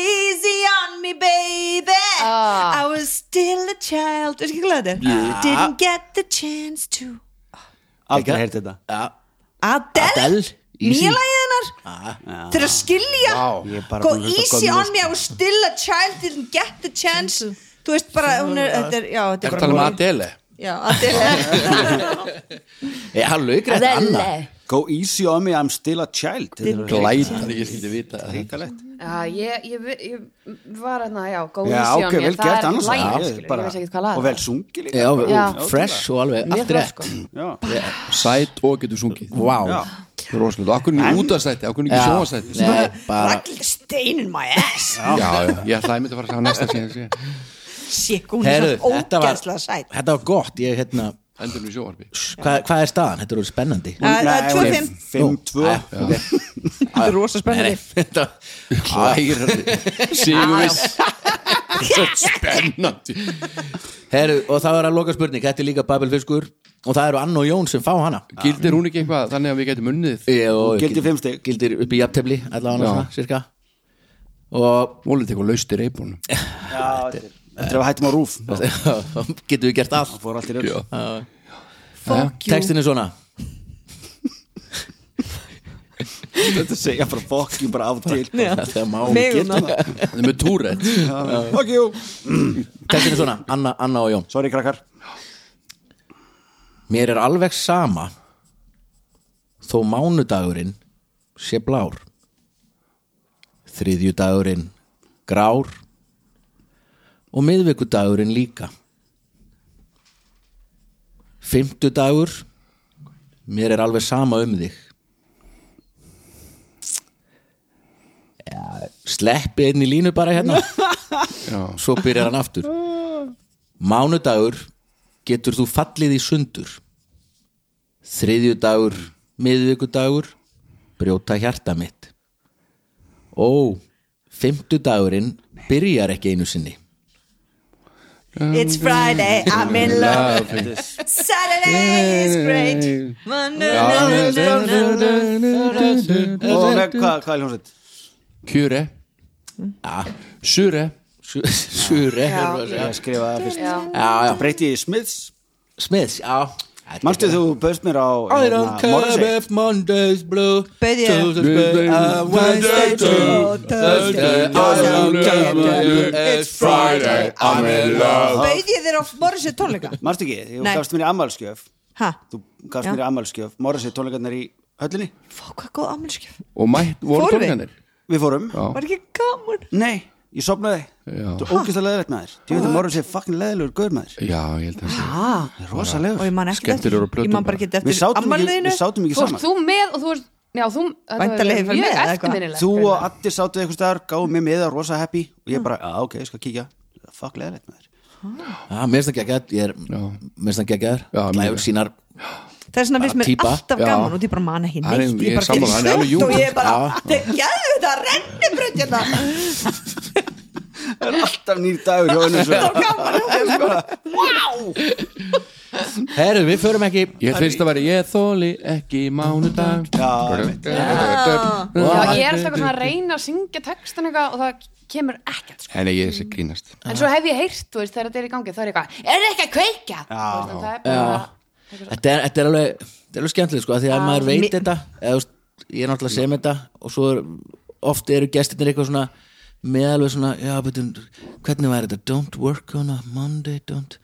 S4: easy on me baby
S2: Ah.
S4: I was still a child Þú veist ekki hvað þetta er? Didn't get the chance to
S5: Aldrei heyrti þetta
S4: Adele,
S1: Adele, easy.
S4: nýja lagið hennar Þeir að skilja
S5: Ég er bara
S4: Go
S5: búin að hlusta á
S4: easy
S5: gömlu,
S4: on me, I was still a child Didn't get the chance Þú veist bara, hún er, þetta er, já, þetta er
S6: Er það
S4: bara
S6: með um Adele?
S4: Já, Adele
S1: Eh, ég hann laugrætt Anna
S5: Go easy on me, I'm still a child Þetta er
S6: Glætan, ég skildi vita það.
S5: hrikalegt
S2: Já, ég, ég, ég var hérna, já, go
S5: Já, ok,
S2: easy
S5: vel
S2: on me Það
S5: gert
S2: er
S5: annars
S2: ekki
S5: staðar.
S2: lægið,
S5: Ég
S2: skilur,
S5: bara-
S2: ég veist ekki hvað lag
S5: Og vel sungi líka
S1: já,
S2: Já.
S1: já, fresh og alveg
S2: Mjög
S1: allt
S2: flott,
S1: rétt
S2: sko.
S5: Já.
S6: Sæt og getur sungið.
S1: Vá.
S5: Já.
S6: Róslega. Akkur er útastætti, akkur er ekki
S1: Já.
S6: sjóastætti.
S1: Nei, bara
S4: Ragnhildur stein in my ass
S6: Já, já, ég ætlaði að mynda að fara að segja næsta síðan síðan.
S4: Sikk, hún er
S1: Heyrðu,
S4: svo
S1: þetta var,
S4: ógæðslega sæt
S1: þetta var gott ég, hérna,
S6: Endur við sjóarbi.
S1: hva, hvað er staðan? Þetta eru spennandi
S4: Það er- það
S5: Nei,
S4: er 2-5
S5: 5, 2
S1: Þetta er rosa spennandi Þetta
S6: Klærandi. Sigurviss. Spennandi.
S1: Heru, og það var að loka spurning, þetta er líka Babelfiskur og það eru Ann og Jón sem fá hana
S6: Gildir hún ekki eitthvað þannig að við getum unnið
S1: Jó,
S5: Gildir fimm stig.
S1: Gildir upp í jafntefli, allavega
S6: Já.
S1: hana, cirka og Eh,
S6: Mólið tekur laust í reybunum
S5: Eftir að við hættum á rúf Það
S1: getum við gert allt
S5: fór allt í rögg
S1: Textin er svona
S5: Þetta segja bara fuck you bara af og til
S1: Þegar má
S4: Mig
S1: getur
S4: og hana.
S1: það.
S6: Það er með túrætt
S5: Fuck you
S1: Textin er svona, Anna, Anna og Jón
S5: Sorry krakkar
S1: Mér er alveg sama þó mánudagurinn sé blár þriðjudagurinn grár og miðvikudagurinn líka Fimmtudagur mér er alveg sama um þig ja, Sleppi einn í línu bara hérna svo byrjar hann aftur Mánudagur getur þú fallið í sundur Þriðjudagur, miðvikudagur, brjóta hjarta mitt Ó, fimmtudagurinn byrjar ekki einu sinni
S4: It's Friday, I'm in love Saturday is great
S5: Og með hvað hvað er hljómsveit?
S6: Kjure
S1: Ah.
S6: Sure
S1: Sú- Súri
S5: Ég skrifaði það fyrst
S2: Já,
S1: eh? Já, já,
S5: Breyti í Smiths
S1: smiðs, já
S5: Manstu þú bauðst mér á hérna,
S1: I don't care
S5: Morrissey
S1: if Monday's blue
S4: Bauð ég.
S1: Tuesday's blue and Wednesday's blue Thursday, I don't care if It's Friday, I'm in love
S4: Bauð ég þér á Morrissey tónleika
S5: Manstu ekki? Þú
S4: Nei.
S5: gafst mér í ammálskjöf
S4: Ha,
S5: Þú gafst
S4: Já.
S5: mér í ammálskjöf Morrissey tónleikarnar í höllinni
S4: fá hvað góð ammælskjöf
S6: Og mætt voru
S4: Fórum við?
S6: tónkanir
S5: Við fórum
S4: Var ekki gaman
S5: Nei, ég sopnaði
S6: Já.
S5: Þú ógæslega leðilegt maður Þú veit að Morrissey er fucking leðilegur gaur maður
S6: Já, ég held að það
S5: Það er rosalegur
S4: Og ég man ekki
S6: Skemmtilegur á plötum
S4: Ég man bara ekki
S5: Við
S4: eftir
S5: sátum ekki,
S4: ammæliðinu
S5: við sátum ekki
S2: þú varst
S5: saman
S2: þú með og þú varst Já, þú, þetta var
S4: Væntanlega fyrir mig,
S2: mjög
S4: eða eitthvað.
S2: eftirminnilegt
S5: Þú
S2: fyrir
S5: og Addi sátu eitthvað staðar, gáðu mér miða, rosa happy og
S2: Mm.
S5: ég bara, já ok, ég skal kíkja Fuck leðilegt maður
S1: Já, Ah, mér finnst það geggjað, ég er mér finnst það geggjað
S6: Já, mjög.
S1: Glæfur sínar
S4: Það er svona finnst mér
S1: típa.
S4: alltaf
S6: Já.
S4: gaman og ég bara man ekki
S6: Hann er-
S4: neitt
S6: ég er
S4: bara
S6: sammála, hann er alveg
S4: svört og ég
S6: júnt.
S4: er bara Þegar gæðu þetta rennibraut hérna
S5: Það er alltaf nýr dagur hjá henni svo
S1: Herru, við förum ekki
S6: Ég finnst að vera ég þóli ekki mánudag
S2: mig. Já, ég
S6: Já,
S2: er alltaf eitthvað svona að reyna að syngja textin eitthvað og það kemur ekkert sko.
S6: En ég er sér grínast
S2: En svo hef ég heyrt, þú veist, þegar þetta er í gangi þá er ég eitthvað, er ekki að kveika? Já, veist, það er bara
S1: Þetta er, þetta er alveg, þetta er alveg skemmtileg sko, af því að maður veit
S4: mi-
S1: þetta eða, þú veist, ég er náttúrulega sem þetta og svo er, oft eru gestirnir eitthvað svona með alveg svona, já, betur hvernig væri þetta, don't work on a Monday don't,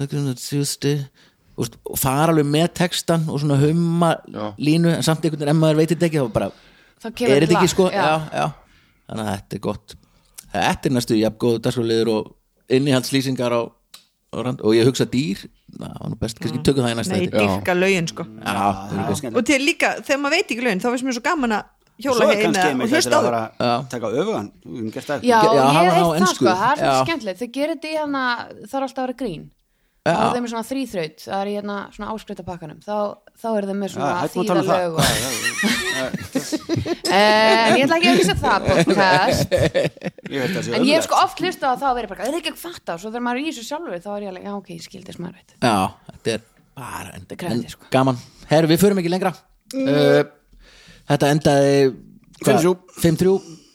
S1: það on a Tuesday og veist, og fara alveg með textan og svona humma
S6: Já.
S1: línu en samt einhvern veginn, ef maður veit þetta ekki þá bara,
S2: Þá kemur
S1: er þetta
S2: lag,
S1: ekki sko
S2: já.
S1: já. Já, þannig að þetta er gott þetta er næstu jafngóðu dagskóliður og innihaldslýsingar á, á rand, og ég hugsa dýr, það var nú best
S2: Mm.
S1: kannski tökum það í
S4: Nei,
S1: næsta
S4: ég dýrka lögin sko
S1: Já,
S5: Já,
S4: Og til líka, þegar maður veit ekki lögin þá finnst mér svo gaman að hjóla heim
S5: kannski
S4: eða-
S5: einmitt
S4: og hlusta
S5: þetta
S4: á
S5: er að
S4: þau.
S5: fara að taka öfugan Við höfum gert það.
S2: Já,
S1: Já,
S2: ég
S1: hafa það
S2: hef
S1: á
S2: heyrt það
S1: ensku.
S2: sko, það er svo
S1: Já.
S2: skemmtilegt Þau gerir þetta í hana, það er alltaf að vera grín
S1: Já.
S2: og þeim er svona þrýþraut það er í hérna svona áskrita pakkanum þá, þá er þeim með
S5: Já,
S2: svona
S5: hættum að tala um það.
S2: þýðalög og... Eh, en ég ætla ekki að hugsa það podcast
S5: Ég held að það sé
S2: en ég hef
S5: ömurlegt.
S2: sko oft hlusta á það og verið bara, það er ekki að fatta og svo þegar maður er í þessu sjálfur þá er ég alveg, já ok, ég skildi þess maður veit
S1: Já, þetta er bara en,
S2: krefjandi,
S1: en
S2: sko. Mm.
S1: gaman Herru, við förum ekki lengra uh, Þetta endaði hvað?
S5: 5-3.
S1: 5-3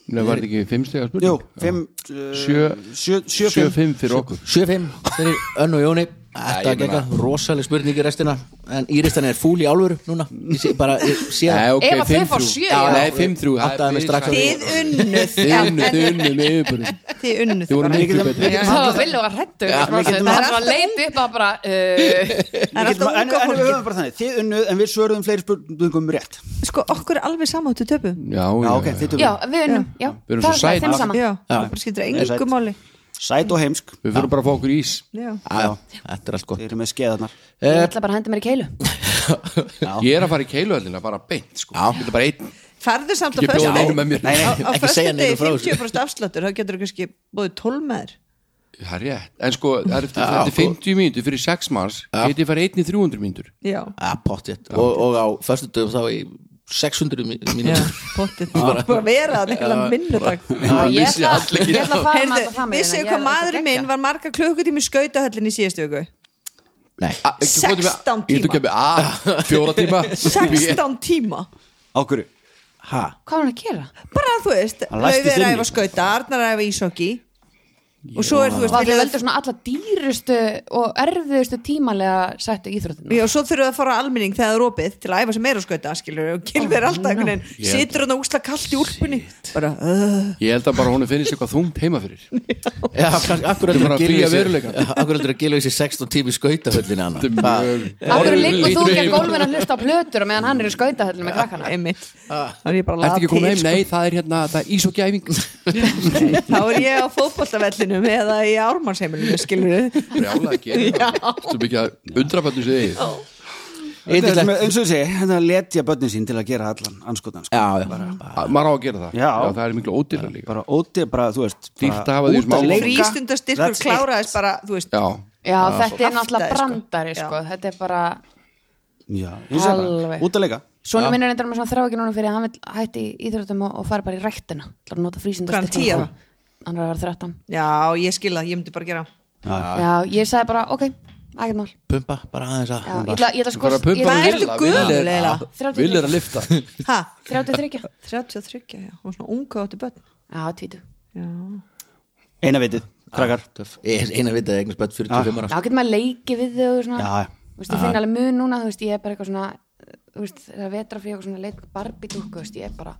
S6: Nei, var þetta ekki fimm stegar
S5: Jú, uh,
S6: spurning?
S5: 5
S6: Sjö-
S5: 7-5
S6: 7-5 fyrir okkur
S1: 7-5 fyrir Önn og Jóni Þetta
S6: ég
S1: gekk
S6: meina-
S1: að rosaleg spurning í restina en Íristan er fúl í álfur núna ég sé bara, ég sé
S6: Nei,
S1: að
S6: ok,
S2: Ef að þau
S6: 5-3.
S2: fá sjö,
S6: Já,
S2: já.
S6: Nei, 5-3 það
S1: Áttaði
S6: er
S1: mig strax á því.
S4: Þið unnuð Já,
S6: Þið unnuð, þið unnuð með yfirbörðin
S4: Þið unnuð
S6: Þið voru
S4: bara.
S6: miklu betri
S2: Það var vill og var hrættu Það er að leita upp að bara uh,
S4: Það er alltaf
S5: En en
S4: unga
S5: við
S4: fólki
S5: höfum bara þannig Þið unnuð en við svöruðum fleiri spurningum rétt
S4: Sko, okkur er alveg samáttu töpu
S6: Já,
S5: Já, ok,
S6: já,
S5: þið tökum
S2: Já, við unum, já,
S6: Við erum
S2: það
S6: svo sæt.
S2: er þeim saman
S4: Já, það bara skiptir
S5: sætt.
S4: engu máli
S5: Sæt og heimsk
S6: við fyrir bara að fá okkur ís
S4: Já,
S1: Já, þetta er allt gott
S5: Þið eru með skeiðarnar
S2: Ég
S6: Eh.
S2: ætla bara að henda mér í keilu
S6: Ég er að fara í keiluhöllina, bara beint sko. Ég ætla bara einn,
S4: Farðu samt á
S6: ekki bjóða
S4: föstu
S6: neinum með mér
S5: Nei, nei,
S4: á
S1: Ekki segja neinum frá þessu.
S4: 50% afsláttur þá getur þú kannski búið 12 með þér
S6: Það er rétt, en sko, það er eftir, eftir 50 mínútur fyrir 6 manns, geti ég farið einn í 300 mínútur
S4: já,
S1: Já, pottjétt og, og á föstu dögum þá í 600 mínútur
S4: já, potið bara vera það einhverja minnudag
S2: Já, ég
S6: Vissi
S2: ætla
S6: allir ekki.
S2: ég ætla að fara með þetta
S4: heyrðu,
S2: fram
S4: vissu hvað maðurinn minn var marga klukkutími skautahöllin í síðustu viku
S1: Nei,
S6: A- ekki komið með-
S4: 16
S6: Ég ætla að kemja, a, fjóra tíma
S4: 16 tíma
S5: Á hverju? Ha?
S2: Hvað var hann að gera?
S4: bara þú veist,
S5: Hann læstist
S4: Laufey er
S5: inni.
S4: að æfa skauta Arnar er að æfa ísokki og svo er þú veist
S2: Var
S4: við
S2: þau
S4: lögð-
S2: veldur svona alla dýrustu og erfiðustu tímanlega sættu íþróttinu
S4: Já, svo þurfum við að fara á almenning þegar það er opið til að æfa sem er á skauta, skilur og kilvið er alltaf einhvern veginn, situr hann að úsla kallt í úlpunni bara, uh,
S6: Ég held að bara hún finnist eitthvað þungt heima fyrir
S1: já, kannski, akkur
S6: Þetta er bara að flýja veruleikann.
S1: heldur að gila þessi 16 tími skautaföllin hann
S2: Akkur
S6: Orðið
S2: liggur þú
S6: lítur
S2: ekki að
S6: yfir.
S2: gólfinu að hlusta á plötur og meðan hann er í skautahöllinu með krakkana
S4: einmitt þá er ég bara
S6: Ertu
S4: að
S6: ekki komið
S4: laða
S6: heim?
S4: til
S6: Nei, það er hérna, það er ísokjæfing
S4: sko. þá er ég á fótboltavellinum eða í ármannsheimilinu, skilur
S6: Brjála ekki
S4: Já.
S6: Þú byggja undraböndum sem þið eigið.
S5: Þetta er
S1: Yndislegt.
S5: sem- eins og þessi, þetta er að letja börnin sín til að gera allan anskotan sko.
S1: Já, já,
S6: Að- Maður á að gera það
S5: Já.
S6: það er miklu ódýra líka
S5: bara óti, bara þú veist bara
S6: Dýrt að hafa því
S5: út
S6: smá-
S5: að leika.
S4: frístundastyrkur
S5: That's it.
S4: kláraðist bara, þú veist
S6: Já,
S2: Já, þetta er náttúrulega
S4: Aftaði, sko.
S2: brandari sko. þetta er bara
S5: Já, ég sé bara,
S2: Alveg.
S5: út að leika
S2: Svona minn er endur með svona þrá ekki núna fyrir að hann vil hætti í íþróttum og, og fara bara í ræktina Það er að nota
S4: Hvað er hann,
S2: frísindast
S4: tíu ára?
S2: Hann er að vera 13
S4: já, ég skil það, ég myndi bara gera
S2: Já, ég sagði bara, ok, ekkert mál
S1: pumpa, bara aðeins að
S2: Já, Ég ætla ég ætla sko
S6: bara pumpa
S4: Hvað
S6: Vil-
S4: ertu
S6: Vil-
S4: gömul,
S6: Vil-
S4: eiginlega?
S6: vil er að lifta
S2: 33 33
S4: 33, já, hún var svona unga átti börn
S2: Já, tvítu
S4: já,
S5: Eina vitið, krakkar
S1: Ég- eina vitið að eignast bætt 45 ára
S2: Já, getur maður leikið við þau og svona
S5: Já, já.
S2: Þú veist, ég finn alveg mun núna, þú veist, ég er bara eitthvað svona Þú veist, það er vetra fyrir eitthvað svona leik Barbie dúkku, þú veist, ég er bara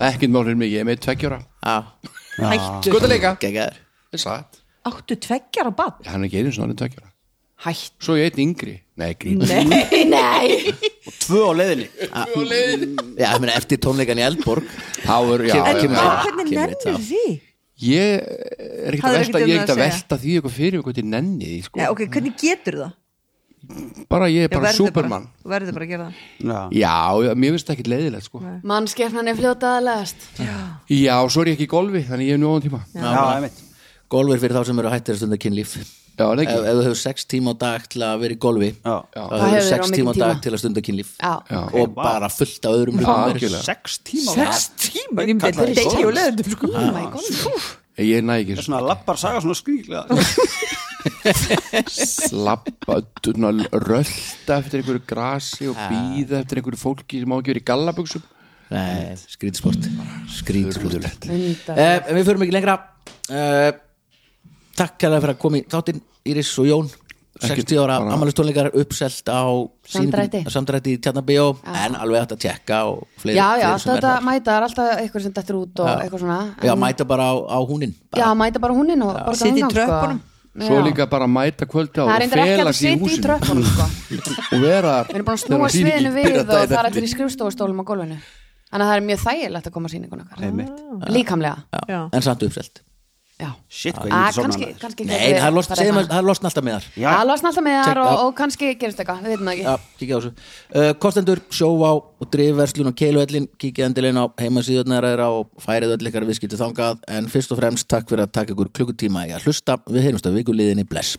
S6: Ekkert mál fyrir mig, ég er með tveggjóra
S1: Já,
S4: hættu
S6: Skoða leika
S1: geggjæður
S6: Það er satt
S4: áttu tveggjar á barn
S6: Hann er ekki einu svona tveggjóra
S4: hættu,
S6: Svo ég einn yngri Nei, grín
S4: nei, nei
S5: Tvö á leiðinni
S1: Já, ég meina eftir tónleikan í Eldborg
S6: Þá er, já,
S1: Kem-
S6: já,
S1: kem-
S6: já
S1: Já.
S4: hvernig
S1: kemur
S4: nennir
S1: þetta.
S4: því?
S6: Ég er ekkert
S4: Það
S6: að
S4: er
S6: velta,
S4: ekkert um
S6: ég er ekkert
S4: það
S6: að
S4: að segja.
S6: velta því eitthvað fyrir mig, hvort ég nenni því sko.
S4: Já, ok, hvernig getur það?
S6: Bara ég er
S4: Já,
S6: bara
S4: verður
S6: supermann
S4: bara, verður bara að gera það
S5: Já.
S6: Já, já, mér finnst það ekkert leiðilegt sko.
S2: Mannskefnan er fljótaðalegast
S6: Já, svo er ég ekki í golfi, þannig ég er nú án tíma Já,
S5: Já, einmitt
S1: Golf er fyrir þá sem eru hættir að stunda kynlíf Ef,
S6: er það
S1: ef
S6: ekki
S1: þú hefur 6 tíma á dag til að vera í golfi
S5: Já.
S1: þá
S6: Já.
S2: Þá
S1: hefur
S2: hefurðu
S1: 6
S2: of
S1: tíma
S2: mikinn
S1: á dag
S2: tíma.
S1: til að stunda kynlíf
S2: Já,
S1: og bara fullt af öðrum
S6: Já,
S1: hlutum
S6: algjörlega.
S5: Sex tíma á dag.
S4: sex tíma, ég myndi að deyja og leðum sko.
S6: Ég næ
S5: Það
S6: ekki
S5: er
S6: þessu.
S5: svona lappar saga svona skrýklega
S6: Slappa, svona, rölda eftir einhverju grasi og býða eftir einhverju fólki sem á ekki verið í gallabuxum
S1: Nei, skrítsport skrítsport eh,
S2: undar
S1: en Við förum ekki lengra eh, Takk kærlega fyrir að koma í þáttinn Íris og Jón 60 ára
S6: bara-
S1: amalistónleikar uppselt á
S2: Samdrætti.
S1: sýningu- samdrætti í Tjarnabíó en alveg hægt að tjekka og fleiri,
S2: Já, já,
S1: fleiri
S2: alltaf
S1: sem
S2: þetta
S1: verða.
S2: mæta það er alltaf eitthvað sem dettur út og eitthvað svona en-
S1: Já, mæta bara á, á húnin
S2: Já,
S1: bara.
S2: mæta bara húnin og bara
S4: Sitja í
S2: gangan, sko.
S4: tröppunum.
S2: Já.
S6: Svo líka bara mæta kvöldi á
S2: Það er
S6: og
S2: reyndar ekki hægt
S6: fela
S2: að
S6: sig
S2: sitja
S6: í
S2: í
S6: húsinu
S2: tröppunum, sko
S6: og vera
S2: Við erum búin að snúa
S6: þegar sýningin
S2: sviðinu við
S6: byrjar
S2: og það er
S6: daginn
S2: allir í
S6: eftir.
S2: skrifstofustólum á gólfinu Þannig að það er mjög þægilegt að koma að sýningun okkar Líkamlega
S4: Já.
S1: En samt uppselt
S2: já
S5: Shit, hvað ég
S2: Ah,
S5: myndi sofna
S2: kannski,
S5: með þér.
S2: kannski
S1: Nei, það er losn- segjum að- það er losn alltaf með þar
S5: Já.
S2: Það losna alltaf með þar
S1: Check,
S2: og,
S1: já.
S2: og kannski gerist eitthvað, við veitum það ekki
S1: Já, kíkja á þessu uh, Kostendur, sjóvá og drifverslun og keiluhellin kíkja endilegin á heimasíðunar þeirra og færið öll ykkar viðskipti þangað en fyrst og fremst takk fyrir að taka ykkur klukkutíma í að hlusta við heyrumst að vikuliðinni bless